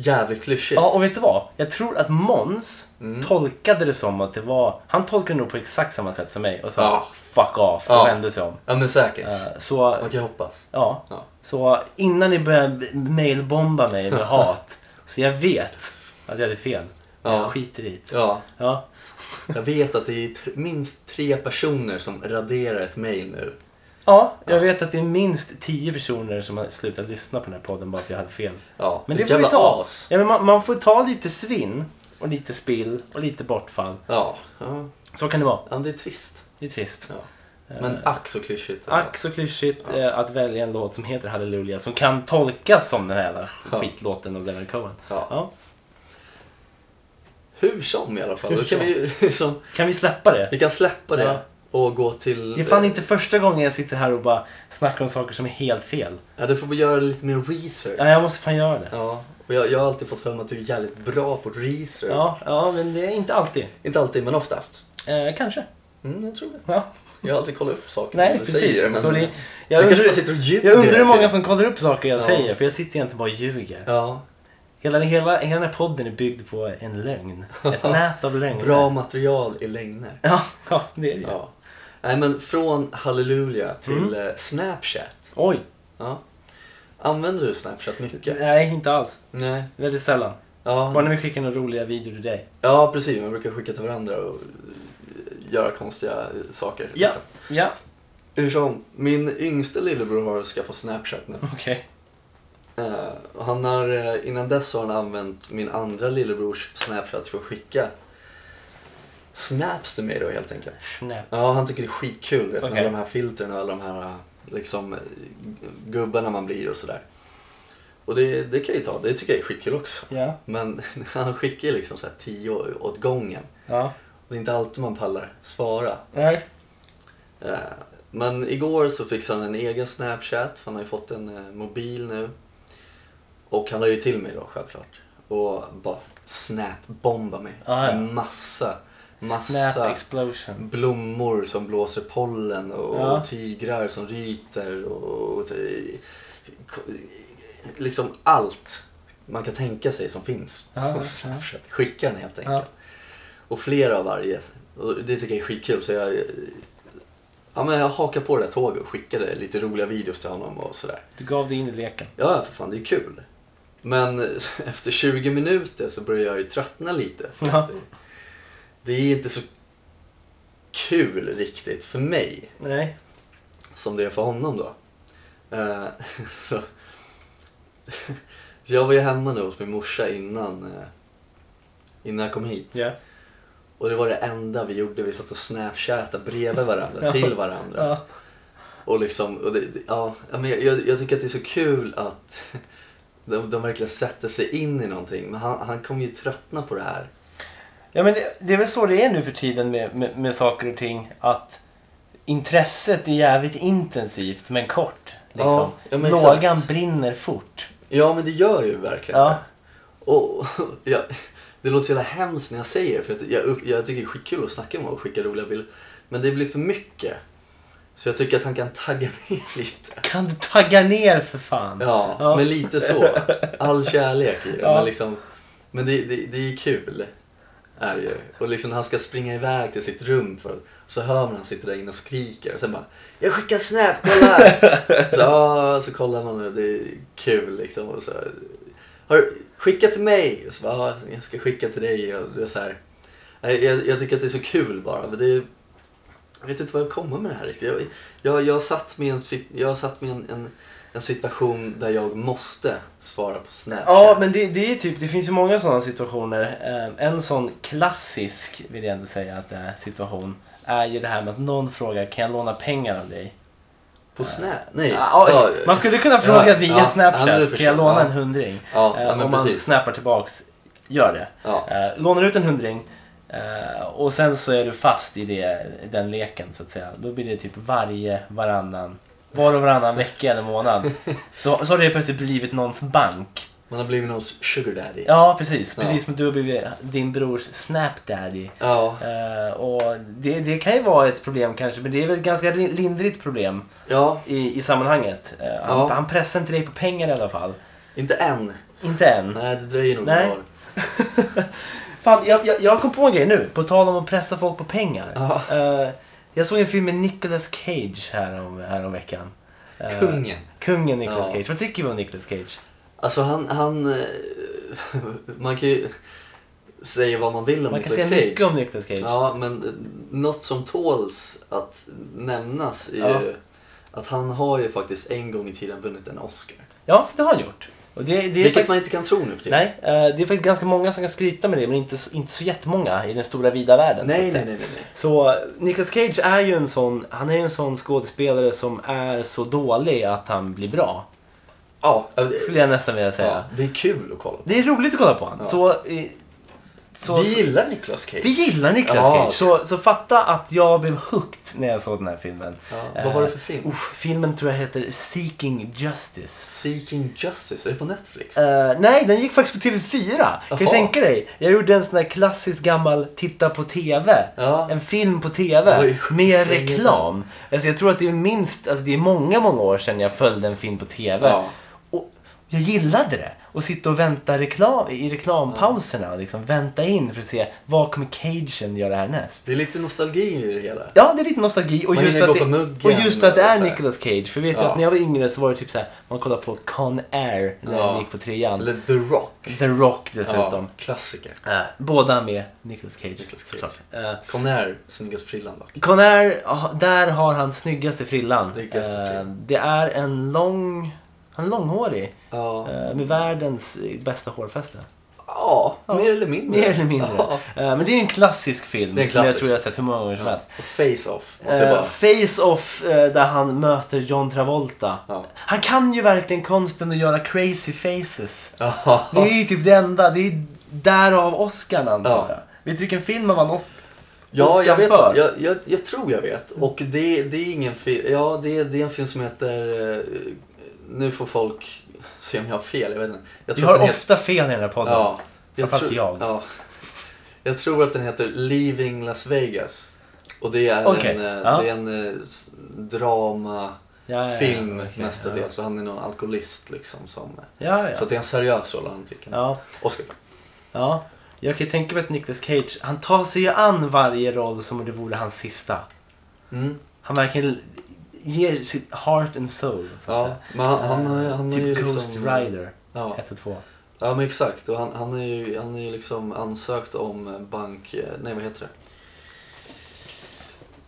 S1: Jävligt klyschigt.
S2: Ja, och vet du vad? Jag tror att Mons
S1: Mm.
S2: tolkade det som att det var... Han tolkade det nog på exakt samma sätt som mig och sa
S1: Ja.
S2: fuck off och
S1: Ja.
S2: vände sig om.
S1: Ja, men säkert.
S2: Eh, så,
S1: Man kan ju hoppas.
S2: ja.
S1: Ja.
S2: så innan ni börjar mailbomba mig med hat så jag vet att jag hade fel.
S1: Ja.
S2: Jag skiter i det.
S1: Ja,
S2: Ja.
S1: jag vet att det är tr- minst tre personer som raderar ett mail nu.
S2: Ja, jag vet att det är minst tio personer som har slutat lyssna på den här podden bara för att jag hade fel.
S1: Ja,
S2: Men det
S1: ett
S2: får vi
S1: jävla
S2: ta.
S1: as.
S2: Ja, men man, man får ta lite svinn och lite spill och lite bortfall.
S1: Ja. ja,
S2: Så kan det vara.
S1: ja, det är trist.
S2: Det är trist.
S1: Ja. Men ack så klyschigt.
S2: Eh. Ack så klyschigt eh, att välja en låt som heter Halleluja som kan tolkas som den här jävla
S1: Ja.
S2: skitlåten av Leonard Cohen.
S1: Ja.
S2: Ja.
S1: Hur som i alla fall.
S2: Hur
S1: Då kan
S2: som.
S1: vi, ju liksom,
S2: Kan vi släppa det?
S1: vi kan släppa det
S2: Ja.
S1: och gå till...
S2: Det är fan inte första gången jag sitter här och bara snackar om saker som är helt fel.
S1: Ja, du får väl göra lite mer research.
S2: Ja, jag måste fan göra det.
S1: Ja, och jag, jag har alltid fått för mig att du är jävligt bra på research.
S2: Ja, ja men det är inte alltid.
S1: Inte alltid, men oftast.
S2: Eh, kanske.
S1: Mm, jag tror det.
S2: Ja.
S1: Jag har aldrig kollat upp saker
S2: Nej,
S1: du
S2: precis.
S1: säger. Men...
S2: så det,
S1: jag
S2: jag,
S1: kanske
S2: undrar,
S1: bara sitter och ljuger
S2: jag undrar
S1: hela
S2: hur många
S1: tiden.
S2: som kollar upp saker jag
S1: Ja.
S2: säger, för jag sitter egentligen bara och ljuger.
S1: Ja,
S2: Hela, hela, hela den här podden är byggd på en lögn. Ett nät av lögner.
S1: bra material i längder.
S2: Ja, ja, det är det ju.
S1: Ja. Nej, men från Halleluja till eh, Snapchat.
S2: Oj!
S1: Ja. Använder du Snapchat mycket?
S2: Nej, inte alls.
S1: Nej.
S2: Väldigt sällan. Bara
S1: Ja,
S2: när vi skickar några roliga videor till dig.
S1: ja precis. Man brukar skicka till varandra och eh, göra konstiga eh, saker.
S2: Ja,
S1: liksom.
S2: ja.
S1: Hur som, min yngste lillebror har skaffat Snapchat nu.
S2: Okej.
S1: Eh, och han har, eh, innan dess har han använt min andra lillebrors Snapchat för att skicka snaps till mig då helt enkelt.
S2: Snäppt.
S1: Ja, han tycker det är skitkul vet,
S2: Okej.
S1: med alla de här filtren och alla de här eh, liksom, eh, gubbarna man blir och sådär. Och det, det kan jag ju ta, det tycker jag är skitkul också.
S2: Ja.
S1: Men han skickar ju liksom så här tio åt gången.
S2: Ja.
S1: Det är inte alltid man pallar svara.
S2: Nej.
S1: Eh, Men igår så fixade han en egen Snapchat, för han har ju fått en eh, mobil nu. Och han la ju till mig då självklart. Och bara snap-bomba mig.
S2: Ah, ja.
S1: Med Massa,
S2: Snap
S1: massa
S2: explosion.
S1: blommor som blåser pollen och,
S2: Ja.
S1: och tigrar som ryter och, och t- k- liksom allt man kan tänka sig som finns.
S2: Ja, ja.
S1: Snapchat. Skicka den helt enkelt.
S2: Ja.
S1: Och flera av varje. Och det tycker jag är skitkul. Så jag, ja, men jag hakar på det där tåget och skickade lite roliga videos till honom och sådär.
S2: Du gav dig in i leken.
S1: Ja, ja, för fan, det är ju kul. Men efter 20 minuter så börjar jag ju tröttna lite. För
S2: Ja.
S1: att det, det är inte så kul riktigt för mig
S2: Nej.
S1: som det är för honom då. Eh, så. Jag var ju hemma nu hos min morsa innan, eh, innan jag kom hit.
S2: Ja.
S1: Och det var det enda vi gjorde. Vi satt och snapchatade bredvid varandra,
S2: Ja.
S1: till varandra.
S2: Ja.
S1: Och liksom, och det, det- ja, ja, men jag- jag, jag tycker att det är så kul att de, de verkligen sätter sig in i någonting. Men han, han kommer ju tröttna på det här.
S2: Ja, men det, det är väl så det är nu för tiden med, med, med saker och ting. Att intresset är jävligt intensivt men kort. Liksom.
S1: Ja, ja, men
S2: Lågan
S1: exakt.
S2: brinner fort.
S1: Ja, men det gör ju verkligen
S2: Ja.
S1: det. Och, ja, det låter så jävla hemskt när jag säger det, för att jag, upp- jag tycker det är skitkul att snacka med och skicka roliga bilder. Men det blir för mycket. Så jag tycker att han kan tagga ner lite.
S2: Kan du tagga ner för fan?
S1: Ja,
S2: Ja.
S1: men lite så. All kärlek i det.
S2: Ja.
S1: Men, liksom, men det, det, det är kul. Är det ju. Och liksom när han ska springa iväg till sitt rum för, så hör man han sitter där inne och skriker. Och sen bara “Jag skickar snap, kolla här!” så, ja, så kollar man och det är kul liksom. Och så, har, du- “Skicka till mig!” och så bara "Ja, “Jag ska skicka till dig” och det är så här. Nej, Jag, jag tycker att det är så kul bara. Men det är, jag vet inte vad jag kommer med det här riktigt. Jag, jag, jag satt med, en, fi- jag satt med en, en, en situation där jag måste svara på Snapchat.
S2: Ja, men det, det är typ, det finns ju många sådana situationer. Eh, En sån klassisk, vill jag ändå säga att det är, situation är ju det här med att någon frågar kan jag låna pengar av dig?
S1: På Snap? Nej.
S2: Ja, man skulle kunna fråga
S1: Ja,
S2: via
S1: ja,
S2: Snapchat,
S1: ja, men du
S2: kan jag
S1: förstår. Ja.
S2: låna en hundring?
S1: Ja,
S2: Eh,
S1: ja, men
S2: Om man
S1: precis.
S2: snappar tillbaks, gör det.
S1: Ja.
S2: Eh, Lånar ut en hundring eh, och sen så är du fast i det, i den leken så att säga. Då blir det typ varje, varannan, var och varannan vecka eller månad. Så, så har det helt plötsligt blivit någons bank.
S1: Man har blivit någons sugar daddy.
S2: Ja, precis.
S1: Ja.
S2: Precis som du har blivit din brors snapdaddy.
S1: Ja,
S2: Eh, och det, det kan ju vara ett problem kanske, men det är väl ett ganska li- lindrigt problem
S1: ja
S2: i, i sammanhanget. Eh, han,
S1: Ja.
S2: han pressar inte dig på pengar i alla fall.
S1: inte än.
S2: Inte än.
S1: Nej, det dröjer nog
S2: Nej.
S1: några år.
S2: Fan, jag, jag, jag kom på en grej nu, på tal om att pressa folk på pengar.
S1: Ja.
S2: Eh, jag såg en film med Nicolas Cage härom, härom veckan. Eh,
S1: Kungen.
S2: Kungen Nicolas
S1: Ja.
S2: Cage. Vad tycker vi om Nicolas Cage?
S1: Alltså han, han... eh, Man kan ju säga vad man vill om
S2: Man kan
S1: Nicolas
S2: säga mycket om Nicolas Cage.
S1: Ja, men eh, något som tåls att nämnas är
S2: Ja.
S1: ju att han har ju faktiskt en gång i tiden vunnit en Oscar.
S2: Ja, det har han gjort. Och det, det är
S1: Vilket
S2: faktiskt-
S1: man inte kan tro nu för tiden.
S2: Nej, eh, det är faktiskt ganska många som kan skryta med det men inte, s- inte så jättemånga i den stora vida världen. så
S1: nej,
S2: att
S1: nej,
S2: säga.
S1: nej, nej. nej.
S2: Så eh, Nicolas Cage är ju en sån, han är ju en sån skådespelare som är så dålig att han blir bra.
S1: Ja, eh,
S2: Skulle jag nästan vilja säga.
S1: ja, det är kul att kolla på.
S2: Det är roligt att kolla på han.
S1: Ja.
S2: Så, eh, så,
S1: Vi gillar Nicolas Cage.
S2: vi gillar Nicolas
S1: Ja,
S2: Cage.
S1: okej.
S2: Så, så fatta att jag blev hooked när jag såg den här filmen.
S1: Ja, vad var det för film?
S2: Eh, usch, filmen tror jag heter Seeking Justice.
S1: Seeking Justice, är det på Netflix?
S2: Eh, nej, den gick faktiskt på TV4. Kan du
S1: Jaha.
S2: tänka dig? Jag gjorde en sån där klassisk gammal titta på TV.
S1: Ja.
S2: En film på TV
S1: Det var ju sjukt
S2: med
S1: länge sedan.
S2: reklam. Alltså, jag tror att det är minst, alltså det är många, många år sedan jag följde en film på TV.
S1: Ja.
S2: Och jag gillade det. Och sitta och vänta reklam, i reklampauserna och liksom vänta in för att se vad kommer Cajun göra härnäst.
S1: Det är lite nostalgi i det hela.
S2: Ja, det är lite nostalgi. Och
S1: Man
S2: just,
S1: hinner
S2: att
S1: gå
S2: det,
S1: på muggen
S2: och just att det
S1: och
S2: är
S1: så här.
S2: Nicolas Cage. För vet jag
S1: Ja.
S2: att när jag var yngre så var det typ så här, man kollade på Con Air
S1: Ja.
S2: när jag gick på trean.
S1: Eller The Rock.
S2: The Rock dessutom.
S1: Ja, klassiker.
S2: Eh, båda med Nicolas Cage,
S1: Nicolas Cage.
S2: såklart. Eh,
S1: Conair, snyggast frillan dock.
S2: Conair, ah, där har han snyggaste frillan.
S1: Snyggaste
S2: Eh,
S1: frillan.
S2: det är en lång... Han är långhårig.
S1: Ja.
S2: eh, med världens eh, bästa hårfäste.
S1: Ja, mer eller mindre.
S2: Mer eller mindre.
S1: Ja.
S2: Eh, men det är ju en klassisk film
S1: Det är en
S2: som jag
S1: klassisk.
S2: tror jag har sett hur många gånger som helst.
S1: Och Face-Off. Måste jag
S2: Eh,
S1: bara...
S2: Face-Off eh, där han möter John Travolta.
S1: Ja.
S2: Han kan ju verkligen konsten att göra crazy faces.
S1: Ja.
S2: Det är ju typ det enda. Det är ju därav Oscarn antar
S1: Ja.
S2: jag. Vet du vilken film han vann Oscar
S1: Ja, jag, vet,
S2: Oscar för.
S1: jag, jag, jag tror jag vet.
S2: Mm.
S1: Och det, det är ingen film. Ja, det, det är en film som heter... eh, Nu får folk se om jag har fel. Jag vet inte. Jag
S2: Vi har
S1: att den
S2: ofta fel i den här podden.
S1: Ja.
S2: Framförallt
S1: tror-
S2: jag.
S1: Ja. Jag tror att den heter Leaving Las Vegas. Och det är
S2: Okej,
S1: en, eh,
S2: ja.
S1: det är en eh, s- drama
S2: Ja, ja,
S1: film
S2: Eh, okej,
S1: nästa
S2: ja.
S1: del. Så han är någon alkoholist liksom. Som,
S2: Ja, ja.
S1: Så att det är en seriös roll han fick en
S2: ja,
S1: Oscar för.
S2: ja. Jag kan ju tänka mig att Nicolas Cage, han tar sig ju an varje roll som om det vore hans sista.
S1: Mm.
S2: Han verkligen ger sitt heart and soul. Så att
S1: Ja,
S2: säga.
S1: men han, han, har ju- han är ju
S2: typ Ghost
S1: liksom,
S2: Rider
S1: Ja.
S2: 1 och 2.
S1: ja, men exakt. Och han, han är ju, han är ju liksom ansökt om bank... eh, Nej, vad heter det?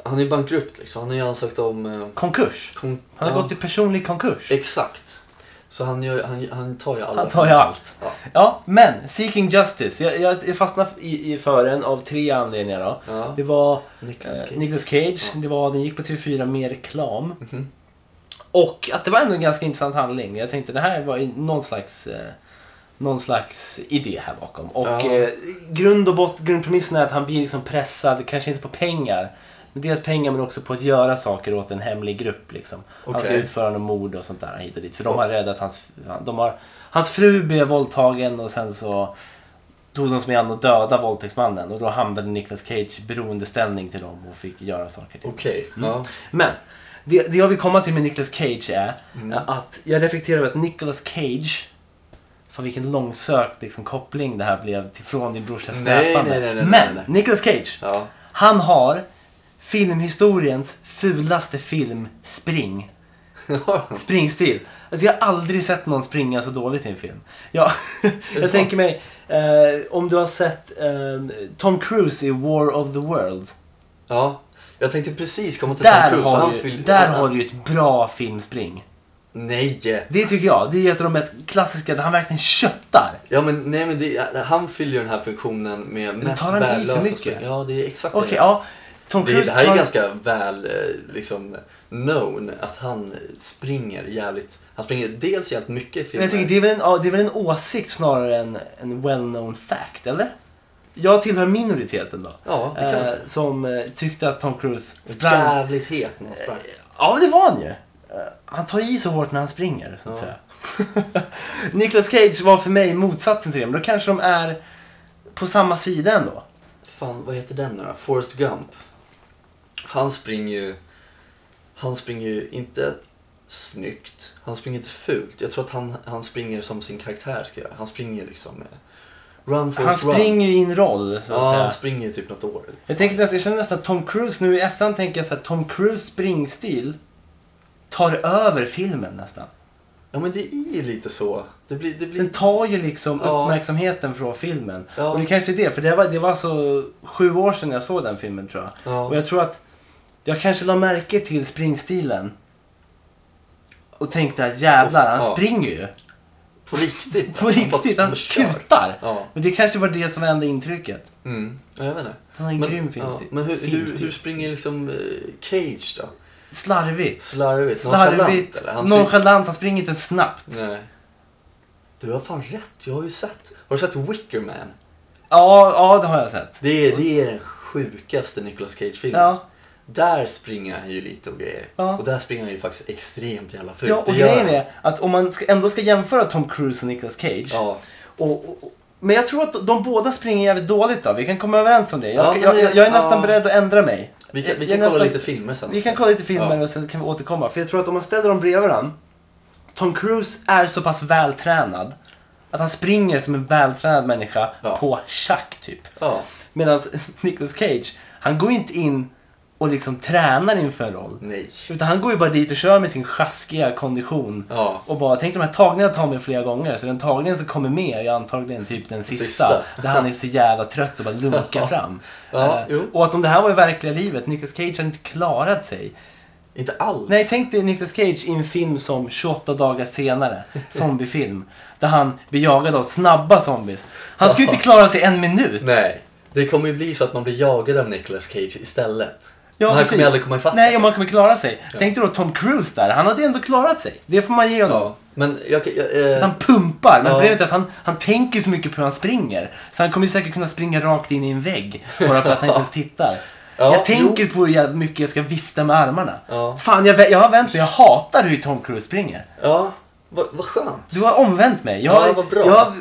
S1: Han är ju bankrupt liksom. Han har ju ansökt om... eh,
S2: Konkurs!
S1: kon-
S2: Han har
S1: ja.
S2: gått i personlig konkurs.
S1: Exakt. Så han, gör, han, han tar ju alla.
S2: Han tar ju allt.
S1: Ja.
S2: Ja, men Seeking Justice. Jag, jag, jag fastnade i, i för den av tre anledningar då.
S1: Ja.
S2: Det var
S1: Nicolas Cage.
S2: Eh, Nicolas Cage. Det var, den gick på TV4 med reklam.
S1: Mhm.
S2: Och att det var ändå en ganska intressant handling. Jag tänkte det här var ju någon slags eh, någon slags idé här bakom. Och
S1: Ja.
S2: eh, grund och bott, grundpremissen är att han blir liksom pressad, kanske inte på pengar. Men dels pengar men också på att göra saker åt en hemlig grupp. Liksom. Han ska
S1: Okej.
S2: utföra något mord och sånt där hit och dit. För de har räddat hans... De har, hans fru blev våldtagen och sen så tog de som igen och dödade våldtäktsmannen. Och då hamnade Nicolas Cage i beroendeställning till dem och fick göra saker. Till.
S1: Okej,
S2: Mm.
S1: ja.
S2: Men det, det jag vill komma till med Nicolas Cage är
S1: Mm.
S2: att jag reflekterar över att Nicolas Cage Fan vilken långsökt liksom, koppling det här blev till från din brorsas
S1: Nej, nej,
S2: snäpande.
S1: nej, nej,
S2: Men
S1: nej, nej.
S2: Nicolas Cage,
S1: ja.
S2: han har filmhistoriens fulaste film, Spring. Springstil. Alltså jag har aldrig sett någon springa så dåligt i en film. Ja,
S1: det
S2: jag
S1: så?
S2: tänker mig, eh, om du har sett eh, Tom Cruise i War of the World.
S1: ja. Jag tänkte precis komma till Tom
S2: Där,
S1: Cruise.
S2: har,
S1: han
S2: du,
S1: fyll-
S2: där
S1: han-
S2: har du ju ett bra filmspring.
S1: Nej!
S2: Det tycker jag. Det är ett av de mest klassiska, där han verkligen köttar.
S1: Ja men nej men det, han fyller ju den här funktionen med mest
S2: tar han i för
S1: värdelösa
S2: mycket?
S1: spel. Ja det är exakt
S2: Okej,
S1: det.
S2: ja. Tom
S1: Det, är-
S2: Cruise
S1: det här är
S2: tar-
S1: ganska väl eh, liksom known att han springer jävligt, han springer dels jävligt mycket i
S2: Men
S1: filmer.
S2: jag tänker, det, är väl en, ja, det är väl en åsikt snarare än en well-known fact, eller? Jag tillhör minoriteten då.
S1: Ja, det kan man
S2: eh,
S1: säga.
S2: som eh, tyckte att Tom Cruise sprang. Ja,
S1: Jävligt het när han sprang.
S2: det var han ju. Eh, han tar i så hårt när han springer, så att
S1: Ja.
S2: säga. Nicolas Cage var för mig motsatsen till det, men då kanske de är på samma sida ändå.
S1: Fan, vad heter den nu då? Forrest Gump. Han springer ju... Han springer ju inte snyggt. Han springer inte fult. Jag tror att han, han springer som sin karaktär ska göra. Han springer liksom... Eh, run
S2: Han
S1: Forrest run.
S2: springer ju i en roll, så att
S1: Ja, han
S2: säga.
S1: springer typ något år.
S2: Jag, tänker nästan, jag känner nästan att Tom Cruise nu i efterhand tänker jag så här, Tom Cruise springstil tar över filmen nästan.
S1: Ja, men det är ju lite så. Det blir... Det blir...
S2: Den tar ju liksom
S1: Ja.
S2: uppmärksamheten från filmen.
S1: Ja.
S2: Och det kanske är det, för det var, det var alltså sju år sedan jag såg den filmen tror jag. Och
S1: Ja.
S2: jag tror att jag kanske la märke till springstilen. Och tänkte att jävlar, han
S1: Ja.
S2: springer ju.
S1: På riktigt.
S2: På
S1: alltså,
S2: riktigt,
S1: bara-
S2: han
S1: kör.
S2: kutar.
S1: Ja.
S2: Men det kanske var det som var enda intrycket.
S1: Mm. Ja, jag vet inte.
S2: Han har en grym filmstil.
S1: Men hur, hur,
S2: Filmstil.
S1: hur springer liksom eh, Cage då?
S2: Slarvigt.
S1: Slarvigt? Nonchalant,
S2: Slarvigt,
S1: eller? Han ser-
S2: nonchalant, han springer inte ens snabbt.
S1: Nej. Du har fan rätt, jag har ju sett. Har du sett Wicker Man?
S2: Ja, ja det har jag sett.
S1: Det är, det är den sjukaste Nicolas Cage-filmen.
S2: Ja.
S1: Där springer han ju lite och grejer.
S2: Ja.
S1: Och där springer han ju faktiskt extremt jävla fult.
S2: Ja, och
S1: Det gör
S2: grejen
S1: han.
S2: är att om man ska, ändå ska jämföra Tom Cruise och Nicolas Cage.
S1: Ja.
S2: Och, och, och- men jag tror att de, de båda springer jävligt dåligt då. Vi kan komma överens om det.
S1: Ja,
S2: Jag,
S1: men
S2: jag,
S1: det-
S2: jag, jag är nästan
S1: ja.
S2: beredd att ändra mig.
S1: Vi
S2: Jag-
S1: kan, vi
S2: jag är
S1: kan kolla
S2: nästan-
S1: lite filmer sen.
S2: Vi kan kolla lite filmer
S1: Ja.
S2: och sen kan vi återkomma. För jag tror att om man ställer dem bredvid varandra. Tom Cruise är så pass vältränad. Att han springer som en vältränad människa
S1: Ja.
S2: på schack typ.
S1: Ja.
S2: Medan Nicolas Cage, han går ju inte in och liksom tränar inför en roll.
S1: Nej.
S2: Utan han går ju bara dit och kör med sin sjaskiga kondition.
S1: Ja.
S2: Och bara, tänk de här tagningarna tar mig flera gånger. Så den tagningen som kommer med är ju antagligen typ den sista.
S1: Sista.
S2: Där han är så jävla trött och bara lunkar fram.
S1: Ja,
S2: Eh,
S1: jo.
S2: och att om det här var i verkliga livet, Nicolas Cage hade inte klarat sig.
S1: Inte alls.
S2: Nej, tänk dig Nicolas Cage i en film som 28 dagar senare, zombiefilm. där han blir jagad av snabba zombies. Han skulle ju inte klara sig en minut.
S1: Nej. Det kommer ju bli så att man blir jagad av Nicolas Cage istället.
S2: Ja,
S1: Men han
S2: precis.
S1: kommer ju aldrig komma ifatt
S2: Nej, och man kommer klara sig. Tänk dig då Tom Cruise där, han hade ju ändå klarat sig. Det får man ge honom.
S1: Ja. Men jag, kan- jag, eh,
S2: Att han pumpar, men
S1: Ja.
S2: problemet är att han, han tänker så mycket på hur han springer. Så han kommer ju säkert kunna springa rakt in i en vägg bara för att han inte ens tittar.
S1: Ja,
S2: jag tänker på hur jävla mycket jag ska vifta med armarna.
S1: Ja.
S2: Fan, jag, vä- jag har vänt mig. Jag hatar hur Tom Cruise springer.
S1: ja. Vad vad skönt.
S2: Du har omvänt mig. Jag, har-
S1: Ja, vad bra.
S2: jag har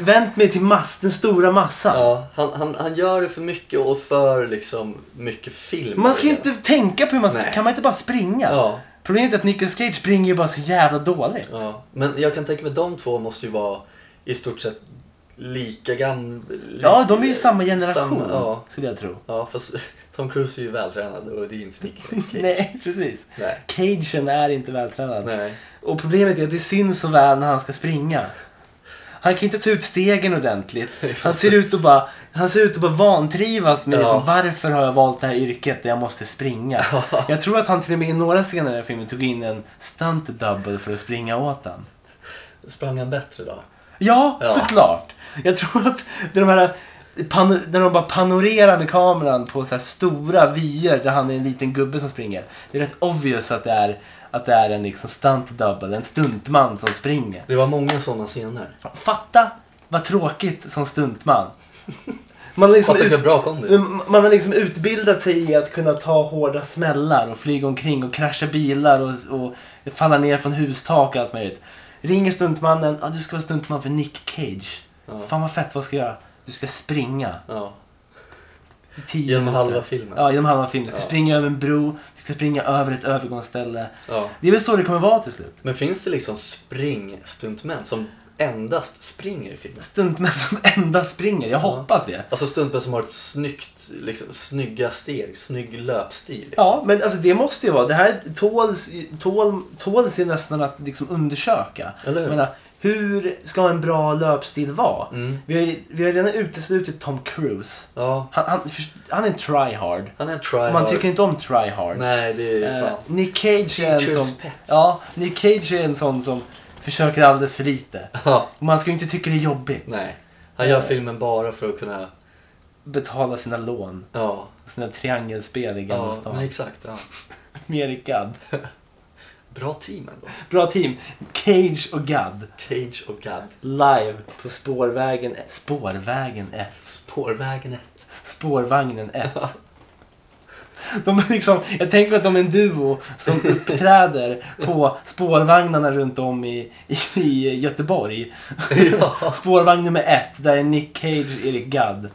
S2: vänt mig till mass, den stora massan.
S1: Ja, han, han, han gör det för mycket och för liksom mycket film.
S2: Man ska ju inte tänka på hur man springer.
S1: Nej.
S2: Kan man inte bara springa?
S1: Ja.
S2: Problemet är att Nicolas Cage springer ju bara så jävla dåligt.
S1: Ja, men jag kan tänka mig att de två måste ju vara i stort sett lika gamla.
S2: Ja, de är ju samma generation,
S1: Samma, ja.
S2: skulle jag tro.
S1: Ja, fast Tom Cruise är ju vältränad och det är inte Nicolas Cage.
S2: Nej, precis.
S1: Nej.
S2: Cagen är inte vältränad.
S1: Nej.
S2: Och problemet är att det syns så väl när han ska springa. Han kan inte ta ut stegen ordentligt. Han ser ut att bara, han ser ut att bara vantrivas med
S1: Ja.
S2: liksom, varför har jag valt det här yrket där jag måste springa. Jag tror att han till och med i några scener i den här filmen tog in en stunt double för att springa åt den.
S1: Sprang han bättre då?
S2: Ja,
S1: Ja.
S2: såklart. Jag tror att det är de här pano- när de bara panorerar med kameran på så här stora vyer där han är en liten gubbe som springer. Det är rätt obvious att det är, att det är en liksom stunt double, en stuntman som springer.
S1: Det var många sådana scener.
S2: Fatta Vad tråkigt som stuntman. Man har, liksom
S1: Fattar
S2: ut,
S1: vilken bra kondis.
S2: man har liksom utbildat sig i att kunna ta hårda smällar och flyga omkring och krascha bilar och, och falla ner från hustak och allt möjligt. Ringer stuntmannen. Ah, du ska vara stuntman för Nick Cage.
S1: Ja.
S2: Fan vad fett, vad ska jag göra? Du ska springa.
S1: Ja.
S2: i tio
S1: Genom
S2: minuter.
S1: halva filmen.
S2: Ja, genom halva filmen. Du ska
S1: Ja.
S2: springa över en bro, du ska springa över ett övergångsställe.
S1: Ja.
S2: Det är väl så det kommer vara till slut.
S1: Men finns det liksom springstuntmän som endast springer i filmen?
S2: Stuntmän som endast springer. Jag
S1: Ja.
S2: hoppas det.
S1: Alltså stuntmän som har ett snyggt, liksom, snygga steg, snygg löpstil. Liksom.
S2: Ja, men alltså det måste ju vara. Det här tåls, tål, tåls ju nästan att liksom undersöka.
S1: Eller hur?
S2: Jag menar, hur ska en bra löpstil vara?
S1: Mm.
S2: Vi, har ju, vi har ju redan uteslutit Tom Cruise.
S1: Ja,
S2: Han, han, först- han är en tryhard.
S1: han är en tryhard.
S2: Man tycker inte om tryhards.
S1: Nej, det är ju
S2: Eh,
S1: fan.
S2: Nick Cage är en
S1: Teacher's
S2: sån...
S1: pets.
S2: Ja, Nick Cage är en sån som försöker alldeles för lite.
S1: Ja,
S2: Man ska ju inte tycka det är jobbigt.
S1: nej. Han gör
S2: Eh.
S1: filmen bara för att kunna...
S2: Betala sina lån.
S1: Ja,
S2: Sina triangelspel i Gamla
S1: ja
S2: stan.
S1: nej, exakt. Ja.
S2: Mer i Gadd.
S1: Bra team ändå.
S2: Bra team. Cage och Gadd.
S1: Cage och Gadd.
S2: Live på spårvägen... Spårvägen 1.
S1: Spårvägen 1.
S2: Spårvagnen 1. De är liksom, jag tänker att de är en duo som uppträder på spårvagnarna runt om i, i, i Göteborg.
S1: ja.
S2: Spårvagn nummer ett, där är Nick Cage, Erik Gadd.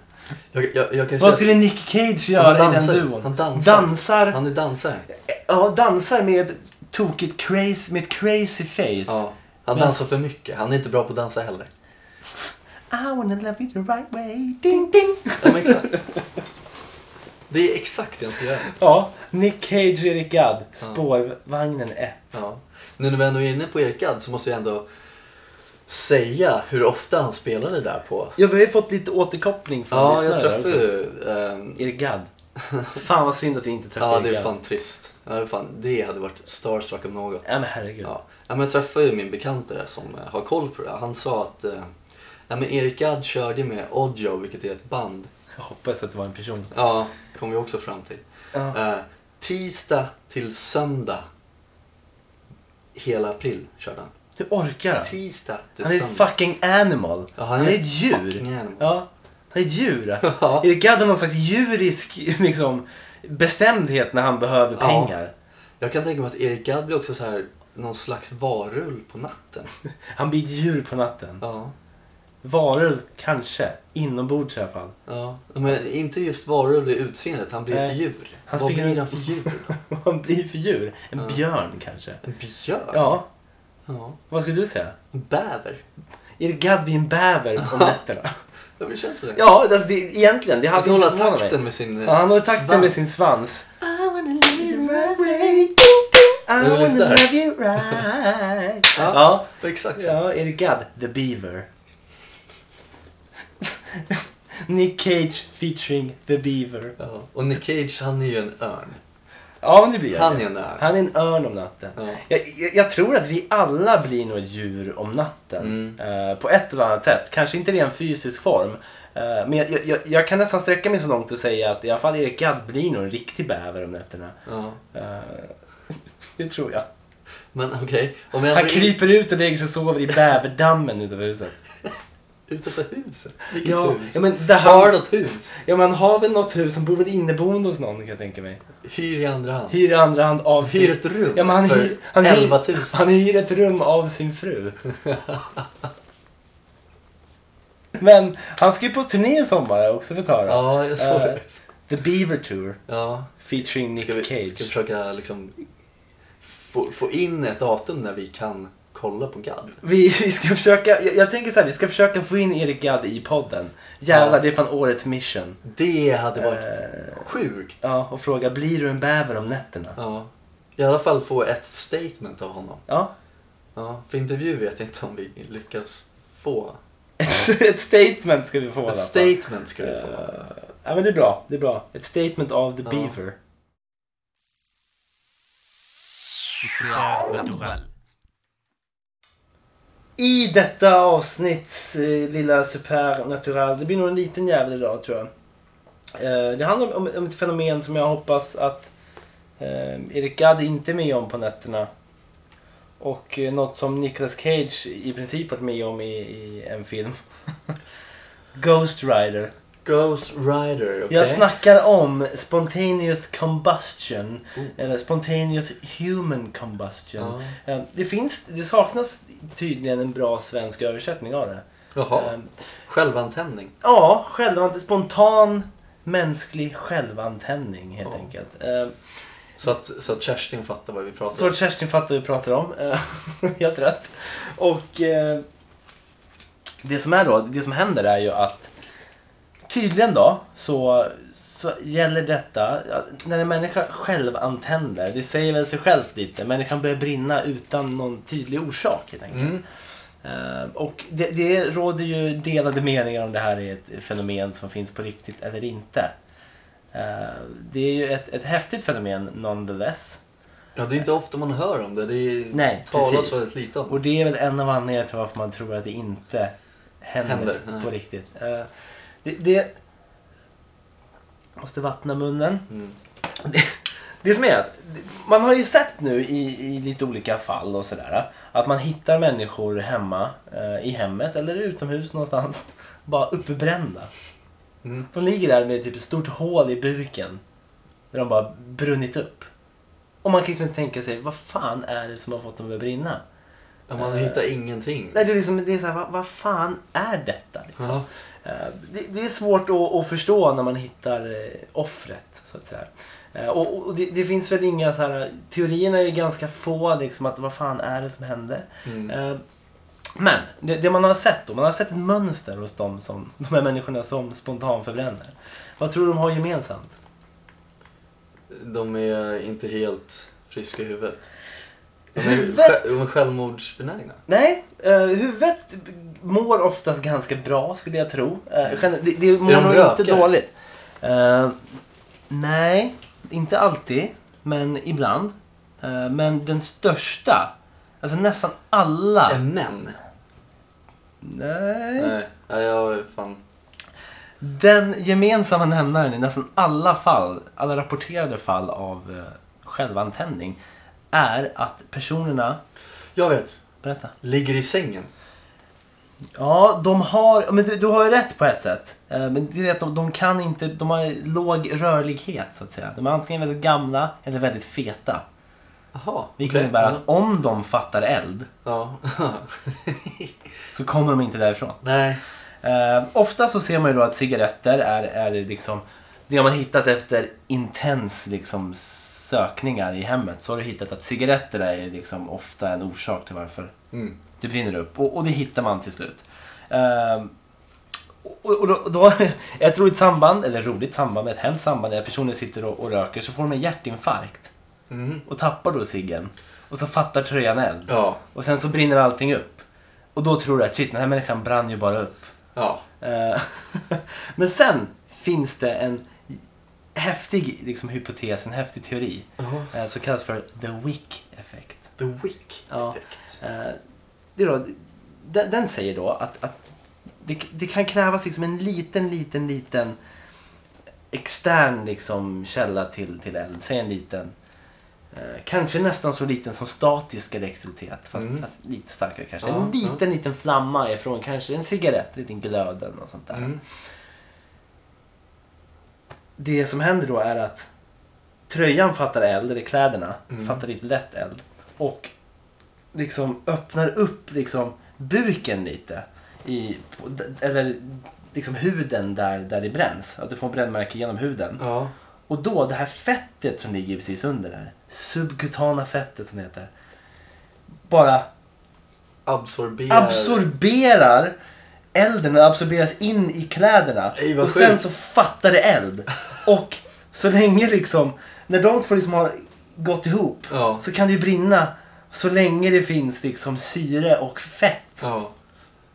S1: jag, jag, jag kan
S2: Vad
S1: känna-
S2: skulle Nick Cage göra i den
S1: dansar ju.
S2: duon?
S1: Han dansar.
S2: Dansar,
S1: Han är dansare.
S2: ja, dansar med ett tokigt crazy, med ett crazy face.
S1: Ja. Han
S2: Men-
S1: dansar för mycket. Han är inte bra på att dansa heller.
S2: I wanna love you the right way, ding ding.
S1: Ja, men exakt. Det är exakt det han ska göra.
S2: Ja, Nick Cage, Erik Gadd, spårvagnen 1.
S1: Ja. Nu när vi ändå är inne på Erik Gadd så måste jag ändå säga hur ofta han spelade där på.
S2: Ja, vi har ju fått lite återkoppling från
S1: Ja,
S2: lyssnare
S1: jag
S2: där
S1: träffade
S2: också.
S1: ju... ehm,
S2: Erik Gadd. Fan vad synd att vi inte träffade
S1: Ja, det
S2: Erik
S1: är
S2: Gadd.
S1: fan trist. Ja, det, är fan, det hade varit starstruck om något.
S2: Ja, men herregud.
S1: Ja. Ja, men jag träffade ju min bekant där som eh, har koll på det här. Han sa att eh, ja, men Erik Gadd körde med Oddjoe, vilket är ett band.
S2: Jag hoppas att det var en person.
S1: Ja, kom vi också fram till.
S2: Ja.
S1: Eh, tisdag till söndag hela april körde han.
S2: Hur orkar han?
S1: Tisdag till
S2: Han är
S1: söndag.
S2: ett fucking animal.
S1: Ja,
S2: han, är ett djur.
S1: fucking animal.
S2: Ja, han är ett djur.
S1: Ja.
S2: Erik Gadd har någon slags djurisk liksom, bestämdhet när han behöver
S1: Ja.
S2: pengar.
S1: Jag kan tänka mig att Erik Gadd blir också så här någon slags varull på natten.
S2: Han blir ett djur på natten.
S1: Ja,
S2: Varulv, kanske. Inombords i alla fall.
S1: ja. Men inte just varull i utseendet, han blir ett
S2: Nej.
S1: djur.
S2: Han
S1: Vad
S2: springer
S1: blir
S2: runt-
S1: han för djur?
S2: Vad han blir för djur? En
S1: Ja.
S2: björn kanske?
S1: En björn?
S2: Ja,
S1: Ja.
S2: vad skulle du säga?
S1: En bäver?
S2: Erik Gadd blir en bäver på nätterna.
S1: Ja, men det känns det?
S2: Ja, alltså det, egentligen. Det
S1: Han
S2: hade
S1: kan
S2: inte
S1: hålla
S2: förvånat mig.
S1: takten med sin eh,
S2: Ja, han håller takten
S1: svans.
S2: med sin svans. I
S1: Hur är det
S2: wanna
S1: där?
S2: love you right.
S1: Ja.
S2: Ja,
S1: Exakt så.
S2: ja Erik Gadd, The Beaver. Nick Cage featuring The Beaver.
S1: Ja. Och Nick Cage, han är ju en örn.
S2: Ja, men det blir
S1: Han
S2: det.
S1: är en örn.
S2: Han är en örn om natten.
S1: Ja.
S2: Jag, jag, jag tror att vi alla blir några djur om natten.
S1: Mm.
S2: Eh, på ett eller annat sätt. Kanske inte i en fysisk form. Eh, men jag, jag- jag, jag kan nästan sträcka mig så långt och säga att i alla fall Erik Gadd blir nog en riktig bäver om nätterna.
S1: Ja.
S2: Eh, det tror jag.
S1: Men okej, om jag
S2: Han
S1: ändå är
S2: kryper ut och lägger sig och sover i bäverdammen utanför huset.
S1: utanför huset. Vilket
S2: Ja,
S1: hus?
S2: ja, men det
S1: Har
S2: här,
S1: något hus?
S2: ja, man har väl något hus, han bor väl inneboende hos någon kan jag tänka mig.
S1: Hyr i andra hand.
S2: Hyr i andra hand av sin-
S1: Hyr ett rum
S2: ja, men han
S1: för
S2: hyr, han
S1: 11 000.
S2: Hyr, han hyr ett rum av sin fru. Men han ska ju på turné i sommar också för höra.
S1: Ja, jag såg
S2: Eh,
S1: det.
S2: The Beaver Tour
S1: Ja.
S2: featuring Nick
S1: Ska vi,
S2: Cage.
S1: ska vi försöka liksom få, få in ett datum när vi kan kolla på GAD?
S2: Vi, vi ska försöka, jag, jag tänker så här, vi ska försöka få in Erik Gadd i podden. Jävlar,
S1: Ja.
S2: det är fan årets mission.
S1: Det hade varit
S2: Eh,
S1: sjukt.
S2: ja, och fråga, blir du en bäver om nätterna?
S1: Ja. I alla fall få ett statement av honom.
S2: Ja.
S1: Ja, för intervju vet jag inte om vi lyckas få.
S2: Ett, ett statement ska vi få. i alla
S1: Ett
S2: fall.
S1: statement skulle vi få.
S2: Eh, ja, men det är bra. Det är bra. Ett statement av the
S1: Ja.
S2: beaver. I detta avsnitts eh, lilla supernatural, det blir nog en liten jävel idag tror jag. Eh, det handlar om, om ett fenomen som jag hoppas att eh, Erik Gadd inte är med om på nätterna. Och eh, något som Nicolas Cage i princip varit med om i, i en film. Ghost Rider.
S1: Ghost Rider, okej?
S2: Jag snackar om spontaneous combustion.
S1: Oh.
S2: Eller spontaneous human combustion.
S1: Ja.
S2: Eh, Det, finns, det saknas tydligen en bra svensk översättning av det. Eh,
S1: Jaha, självantändning.
S2: Ja, självant- spontan mänsklig självantändning helt
S1: Ja.
S2: enkelt. Eh,
S1: Så att, så att Kerstin fattar vad vi pratar
S2: Så
S1: om.
S2: att Kerstin fattar vad vi pratar om. Eh, Helt rätt. Och eh, det som är då, det som händer är ju att tydligen då så, så gäller detta att när en människa själv antänder, det säger väl sig självt lite, människan börjar brinna utan någon tydlig orsak helt enkelt.
S1: Mm.
S2: Eh, Och det, det råder ju delade meningar om det här är ett fenomen som finns på riktigt eller inte. Eh, Det är ju ett, ett häftigt fenomen nonetheless.
S1: Ja, det är inte ofta man hör om det. Det är,
S2: Nej,
S1: talas
S2: precis.
S1: väldigt lite om.
S2: Och det är väl en av anledningarna till varför man tror att det inte händer,
S1: Händer, nej.
S2: på riktigt. Eh, Det, det... Måste vattna munnen.
S1: Mm.
S2: Det, det som är att man har ju sett nu i, i lite olika fall och sådär att man hittar människor hemma eh, i hemmet eller utomhus någonstans bara uppbrända.
S1: Mm.
S2: De ligger där med typ ett stort hål i buken där de bara brunnit upp. Och man kan liksom inte tänka sig vad fan är det som har fått dem att brinna?
S1: Ja, Man
S2: Eh.
S1: hittar ingenting.
S2: Nej, det är liksom, det är så här, vad, vad fan är detta? Liksom?
S1: Ja.
S2: Eh, Det, det är svårt att, att förstå när man hittar eh, offret, så att säga. Eh, Och, och- och det, det finns väl inga så här, teorierna är ju ganska få, liksom att vad fan är det som hände?
S1: Mm.
S2: Eh, Men det, det man har sett då, man har sett ett mönster hos de, som, de här människorna som spontanförbränner. Vad tror du de har gemensamt?
S1: De är inte helt friska i huvudet. De är,
S2: Huvudet?
S1: sj- de är självmordsbenägna.
S2: Nej, eh, huvudet mår oftast ganska bra skulle jag tro. Eh, gen- det, det
S1: Mm.
S2: mår
S1: Är de
S2: nog inte
S1: rökare?
S2: dåligt. Eh, nej, inte alltid, men ibland. Eh, men den största, alltså nästan alla.
S1: Är män?
S2: Nej.
S1: Nej, Nej, jag är fan...
S2: Den gemensamma nämnaren i nästan alla fall, alla rapporterade fall av eh, självantändning är att personerna,
S1: Jag vet.
S2: berätta.
S1: Ligger i sängen.
S2: Ja, de har, men du, du har ju rätt på ett sätt. Eh, Men det är att de, de kan inte, de har låg rörlighet så att säga. De är antingen väldigt gamla eller väldigt feta.
S1: Jaha.
S2: Vilket
S1: okej.
S2: innebär att om de fattar eld
S1: Ja.
S2: så kommer de inte därifrån.
S1: Nej.
S2: Eh, ofta så ser man ju då att cigaretter är, är liksom, det har man hittat efter intens liksom, sökningar i hemmet. Så har du hittat att cigaretter är liksom ofta en orsak till varför
S1: Mm.
S2: Det brinner upp och, och det hittar man till slut. Ehm, och, och då, då, ett roligt samband, eller roligt samband, men ett hemskt samband när personer sitter och, och röker så får de en hjärtinfarkt
S1: Mm.
S2: och tappar då ciggen. Och så fattar tröjan eld.
S1: Ja.
S2: Och sen så brinner allting upp. Och då tror du att shit, den här människan brann ju bara upp.
S1: Ja.
S2: Eh, men sen finns det en häftig liksom, hypotes, en häftig teori
S1: Ja.
S2: eh, som kallas för the wick effect.
S1: The Wick
S2: Ja.
S1: Effect.
S2: Eh, det är då, den, den säger då att, att det, det kan krävas liksom en liten, liten, liten extern liksom källa till, till eld. Säg en liten. Eh, kanske nästan så liten som statisk elektricitet. Fast,
S1: Mm.
S2: fast lite starkare kanske.
S1: Ja,
S2: en liten, liten flamma ifrån kanske en cigarett, en liten glöden och sånt där.
S1: Mm.
S2: Det som händer då är att tröjan fattar eld, eller kläderna
S1: Mm.
S2: fattar lite lätt eld. Och liksom öppnar upp liksom buken lite. I, på- d- eller liksom huden där, där det bränns. Att du får brännmärke genom huden.
S1: Ja.
S2: Och då det här fettet som ligger precis under där. Subkutana fettet som det heter. Bara
S1: Absorberar.
S2: absorberar elden, den absorberas in i kläderna.
S1: Ej, vad
S2: och sen
S1: sjukt.
S2: så fattar det eld. Och så länge liksom, när de två liksom har gått ihop
S1: Ja.
S2: så kan det ju brinna så länge det finns liksom syre och fett.
S1: Ja.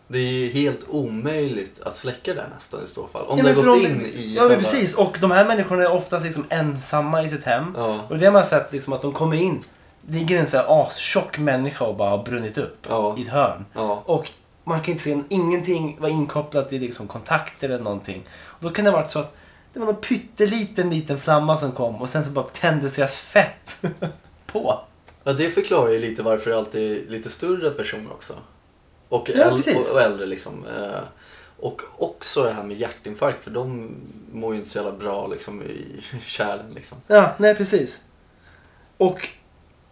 S1: Det är helt omöjligt att släcka det nästan i så fall. Om
S2: Ja,
S1: det
S2: men
S1: har
S2: för
S1: gått in
S2: de-
S1: i...
S2: Ja men
S1: själva-
S2: precis, och de här människorna är oftast liksom ensamma i sitt hem.
S1: Ja.
S2: Och det har man sett liksom att de kommer in, ligger en så här astjock människa och bara har brunnit upp
S1: Ja.
S2: i ett hörn.
S1: Ja.
S2: Och man kan inte se ingenting var inkopplat i liksom kontakter eller någonting. Och då kan det ha varit så att det var någon pytteliten liten flamma som kom och sen så bara tändes deras fett på.
S1: Ja, det förklarar ju lite varför det alltid är lite större personer också. Och,
S2: Ja,
S1: äl-
S2: precis.
S1: och, och äldre liksom. Eh, Och också det här med hjärtinfarkt för de mår ju inte så jävla bra liksom i kärlen liksom.
S2: Ja, nej precis. Och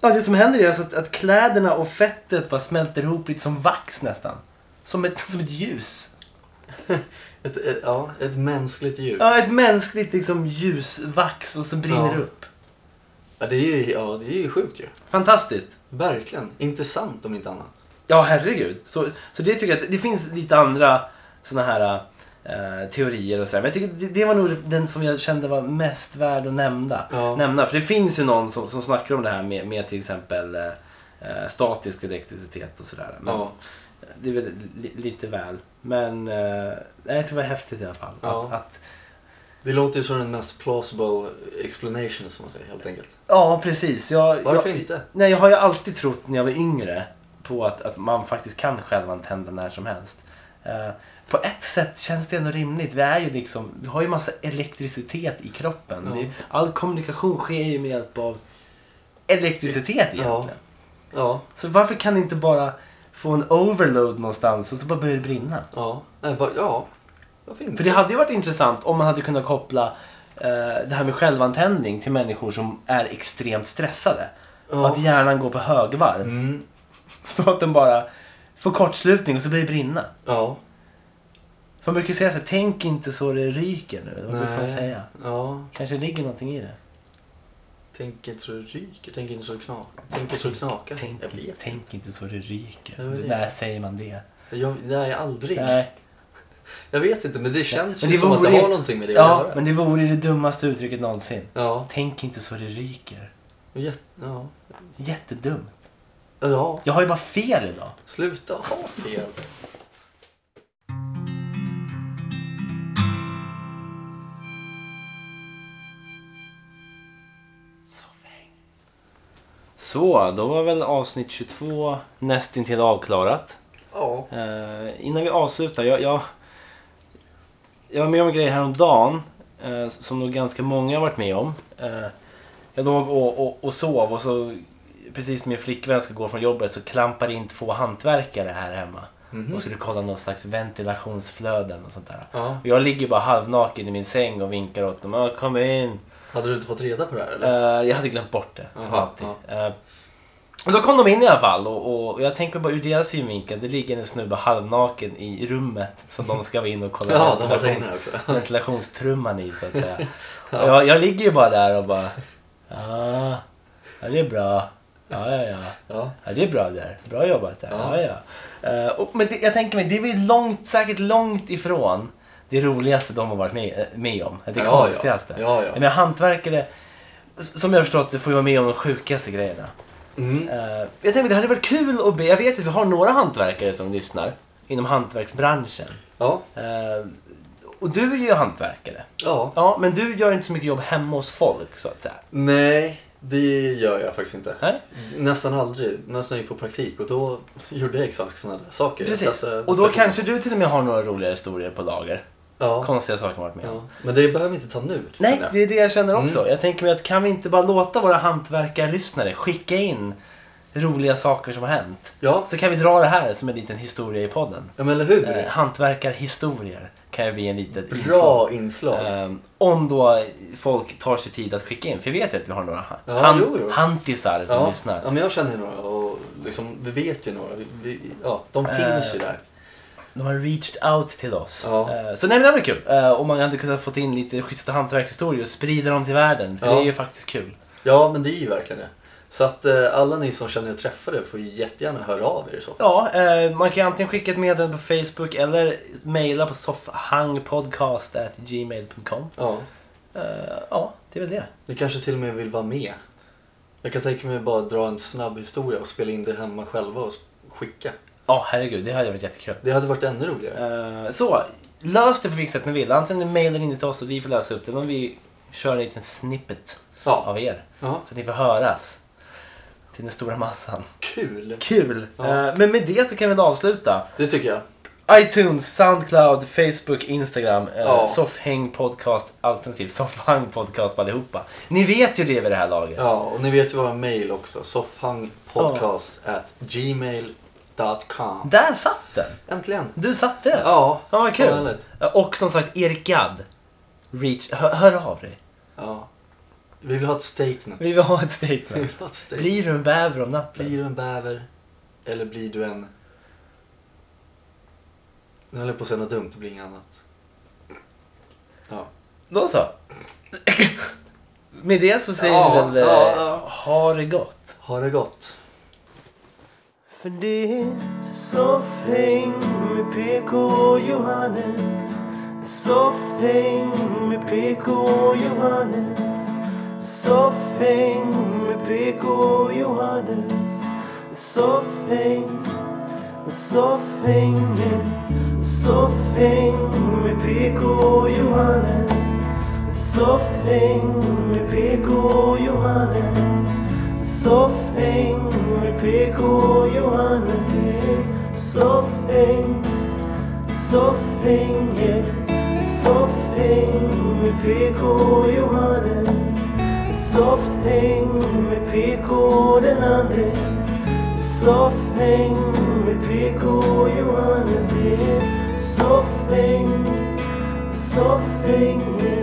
S2: ja, det som händer är alltså att, att kläderna och fettet bara smälter ihop lite som vax nästan. Som ett, som ett ljus.
S1: Ett, ett, ja, ett mänskligt djur.
S2: Ja, ett mänskligt liksom ljusvax och som brinner
S1: Ja.
S2: upp.
S1: Ja, det är ju, ja, det är ju sjukt ju.
S2: Fantastiskt.
S1: Verkligen. Intressant om inte annat.
S2: Ja, herregud. Så, så det tycker jag att det finns lite andra såna här eh, teorier och sådär. Men jag tycker det, det var nog den som jag kände var mest värd att nämna.
S1: Ja.
S2: nämna. För det finns ju någon som, som snackar om det här med, med till exempel eh, eh, statisk elektricitet och sådär. Men
S1: Ja.
S2: Det är väl li, lite väl. Men eh, nej, jag tycker det var häftigt i alla fall.
S1: Ja.
S2: Att, att,
S1: Det låter ju som den mest plausible explanation som man säger helt enkelt.
S2: ja, precis. Jag,
S1: Varför
S2: jag,
S1: inte?
S2: Nej, jag har ju alltid trott när jag var yngre på att, att man faktiskt kan självantända när som helst. Eh, på ett sätt känns det ändå rimligt. Vi, är ju liksom, vi har ju massa elektricitet i kroppen.
S1: Ja.
S2: Det är, all kommunikation sker ju med hjälp av elektricitet egentligen.
S1: Ja,
S2: Så varför kan inte bara få en overload någonstans och så bara börjar det brinna?
S1: ja, Nej, va- ja. Varför inte?
S2: För det hade ju varit intressant om man hade kunnat koppla eh, det här med självantändning till människor som är extremt stressade.
S1: Ja.
S2: Och att hjärnan går på högvarv.
S1: Mm,
S2: Så att den bara får kortslutning och så börjar det brinna.
S1: ja.
S2: För man brukar ju säga så här, tänk inte så det ryker nu. Vad brukar man
S1: Nej.
S2: säga?
S1: Ja,
S2: Kanske ligger någonting i det.
S1: tänk inte så det ryker, tänk inte så det knakar. Tänk inte så det knakar.
S2: Tänk,
S1: Jag vet.
S2: tänk inte så det ryker.
S1: Det var det.
S2: När säger man det?
S1: Jag, nej, aldrig.
S2: Nej.
S1: Jag vet inte, men det känns
S2: Men
S1: ju
S2: det
S1: som att
S2: vore-
S1: det har någonting med det att
S2: Ja,
S1: göra.
S2: men det vore det dummaste uttrycket någonsin.
S1: Ja,
S2: Tänk inte så det ryker.
S1: jätte, ja.
S2: Jättedumt.
S1: ja,
S2: Jag har ju bara fel idag.
S1: sluta ha fel.
S2: Så, då var väl avsnitt 22 nästintill avklarat.
S1: Ja,
S2: Eh, innan vi avslutar, jag, jag, jag var med om en grej häromdagen eh, som nog ganska många har varit med om. Eh, jag låg och, och, och sov och så precis när min flickvän ska gå från jobbet så klampar in två hantverkare här hemma
S1: Mm.
S2: och skulle kolla någon slags ventilationsflöden och sånt där.
S1: Ja.
S2: Och jag ligger bara halvnaken i min säng och vinkar åt dem. "Ah, Kom in!
S1: hade du inte fått reda på det här eller?
S2: Eh, jag hade glömt bort det, som
S1: Jaha,
S2: alltid. Eh, och då kom de in i alla fall och, och, och jag tänker bara ur deras synvinkel, det ligger en snubbe halvnaken i rummet som de ska vara in och kolla
S1: Ja, de var
S2: ventilations-
S1: inne också.
S2: ventilationstrumman i så att säga. Och jag, jag ligger ju bara där och bara, ah, ja det är bra. Ja, ja, ja.
S1: Ja,
S2: Ja, det är bra där. Bra jobbat där. Ja.
S1: Ja.
S2: Ja, Eh, och, men det, jag tänker mig, det är väl långt, säkert långt ifrån det roligaste de har varit med, eh, med om. Det
S1: Ja, ja.
S2: konstigaste.
S1: Ja, ja.
S2: Jag menar, hantverkare, s- som jag har förstått det, får ju vara med om de sjukaste grejerna.
S1: mm.
S2: Eh, jag tänker mig, det hade varit kul att be, jag vet att vi har några hantverkare som lyssnar inom hantverksbranschen.
S1: ja,
S2: Eh, och du är ju hantverkare.
S1: ja.
S2: Ja, men du gör inte så mycket jobb hemma hos folk så att säga.
S1: Nej, det gör jag faktiskt inte.
S2: Nej?
S1: Nästan aldrig. Nästan gick på praktik och då gjorde jag exakt sådana där saker. Alltså, Jag
S2: Precis.
S1: testade-
S2: Och då kanske du till och med har några roliga historier på lager.
S1: Ja,
S2: Konstiga saker man varit med om.
S1: ja. Men det behöver vi inte ta nu. känner
S2: Nej,
S1: jag. Mm.
S2: det är det jag känner också. Jag tänker mig att kan vi inte bara låta våra hantverkarlyssnare skicka in roliga saker som har hänt?
S1: Ja.
S2: Så kan vi dra det här som en liten historia i podden.
S1: ja, men eller hur?
S2: Eh, hantverkarhistorier kan ju bli en liten
S1: Bra inslag.
S2: Eh, om då folk tar sig tid att skicka in. För jag vet ju att vi har några
S1: Ja,
S2: han-
S1: jo, jo.
S2: hantisar som
S1: ja.
S2: lyssnar.
S1: ja, men jag känner några och liksom, vi vet ju några. Vi, vi, ja, de
S2: Eh.
S1: finns ju där.
S2: De har reached out till oss.
S1: Ja.
S2: Eh, Så nej, men det var kul. Eh, Och man hade kunnat fått in lite schyssta hantverkshistorier och sprida dem till världen. För
S1: Ja.
S2: det är ju faktiskt kul.
S1: Ja, men det är ju verkligen det. Så att eh, alla ni som känner er träffade får ju jättegärna höra av er i så fall.
S2: Ja, eh, man kan antingen skicka ett meddelande på Facebook eller mejla på soffhangpodcast.gmail.com.
S1: Ja.
S2: Eh, ja, det är väl det.
S1: Ni kanske till och med vill vara med. Jag kan tänka mig bara dra en snabb historia och spela in det hemma själva och s- skicka.
S2: Ja, herregud, det hade varit jättekul.
S1: Det hade varit ännu roligare.
S2: Eh, så, lös det på vilket sätt ni vill. Antingen mejlar ni in det till oss och vi får läsa upp det. Men vi kör en liten snippet
S1: Ja.
S2: av er.
S1: ja.
S2: Så att ni får höras. Till den stora massan.
S1: Kul!
S2: Kul!
S1: Ja.
S2: Eh, men med det så kan vi väl avsluta.
S1: Det tycker jag.
S3: iTunes, Soundcloud, Facebook, Instagram, eh,
S1: Ja.
S3: Soffhäng podcast, alternativ Soffhang podcast på allihopa. Ni vet ju det vid det här laget.
S1: Ja, och ni vet ju våra mail också. Soffhangpodcast at gmail.com.
S3: Där satt den!
S1: Äntligen!
S3: Du satte den!
S1: Ja,
S3: Ja, vad
S1: vad
S3: kul.
S1: härligt.
S2: Eh,
S3: Ja, Och som sagt, Erik Gadd. Reach, hör, hör av dig.
S1: Ja. Vi vill ha ett statement.
S3: Vi vill ha ett
S1: Vi
S3: statement.
S1: vill ha ett statement.
S3: Blir du en bäver om natten?
S1: Blir du en bäver eller blir du en... Nu höll jag på att säga något dumt, det blir inget annat. Ja.
S3: Då så. Med det så säger
S1: Ja,
S3: vi väl eh,
S1: ja, ja.
S3: ha det gott.
S1: Ha det gott.
S3: För det är soffhäng med PK och Johannes. Soffhäng med PK och Johannes. Soffhäng med PK och Johannes. Soffhäng, soffhäng, soffhäng med PK och Johannes. Soffhäng med PK och Johannes. Soffhäng med PK och Johannes. yeah. Soffhäng, soffhäng, yeah. soffhäng med PK och Johannes. Soffhäng med PK och den andre. Soffhäng med PK och Johannes. yeah. Soffhäng, soffhäng, yeah.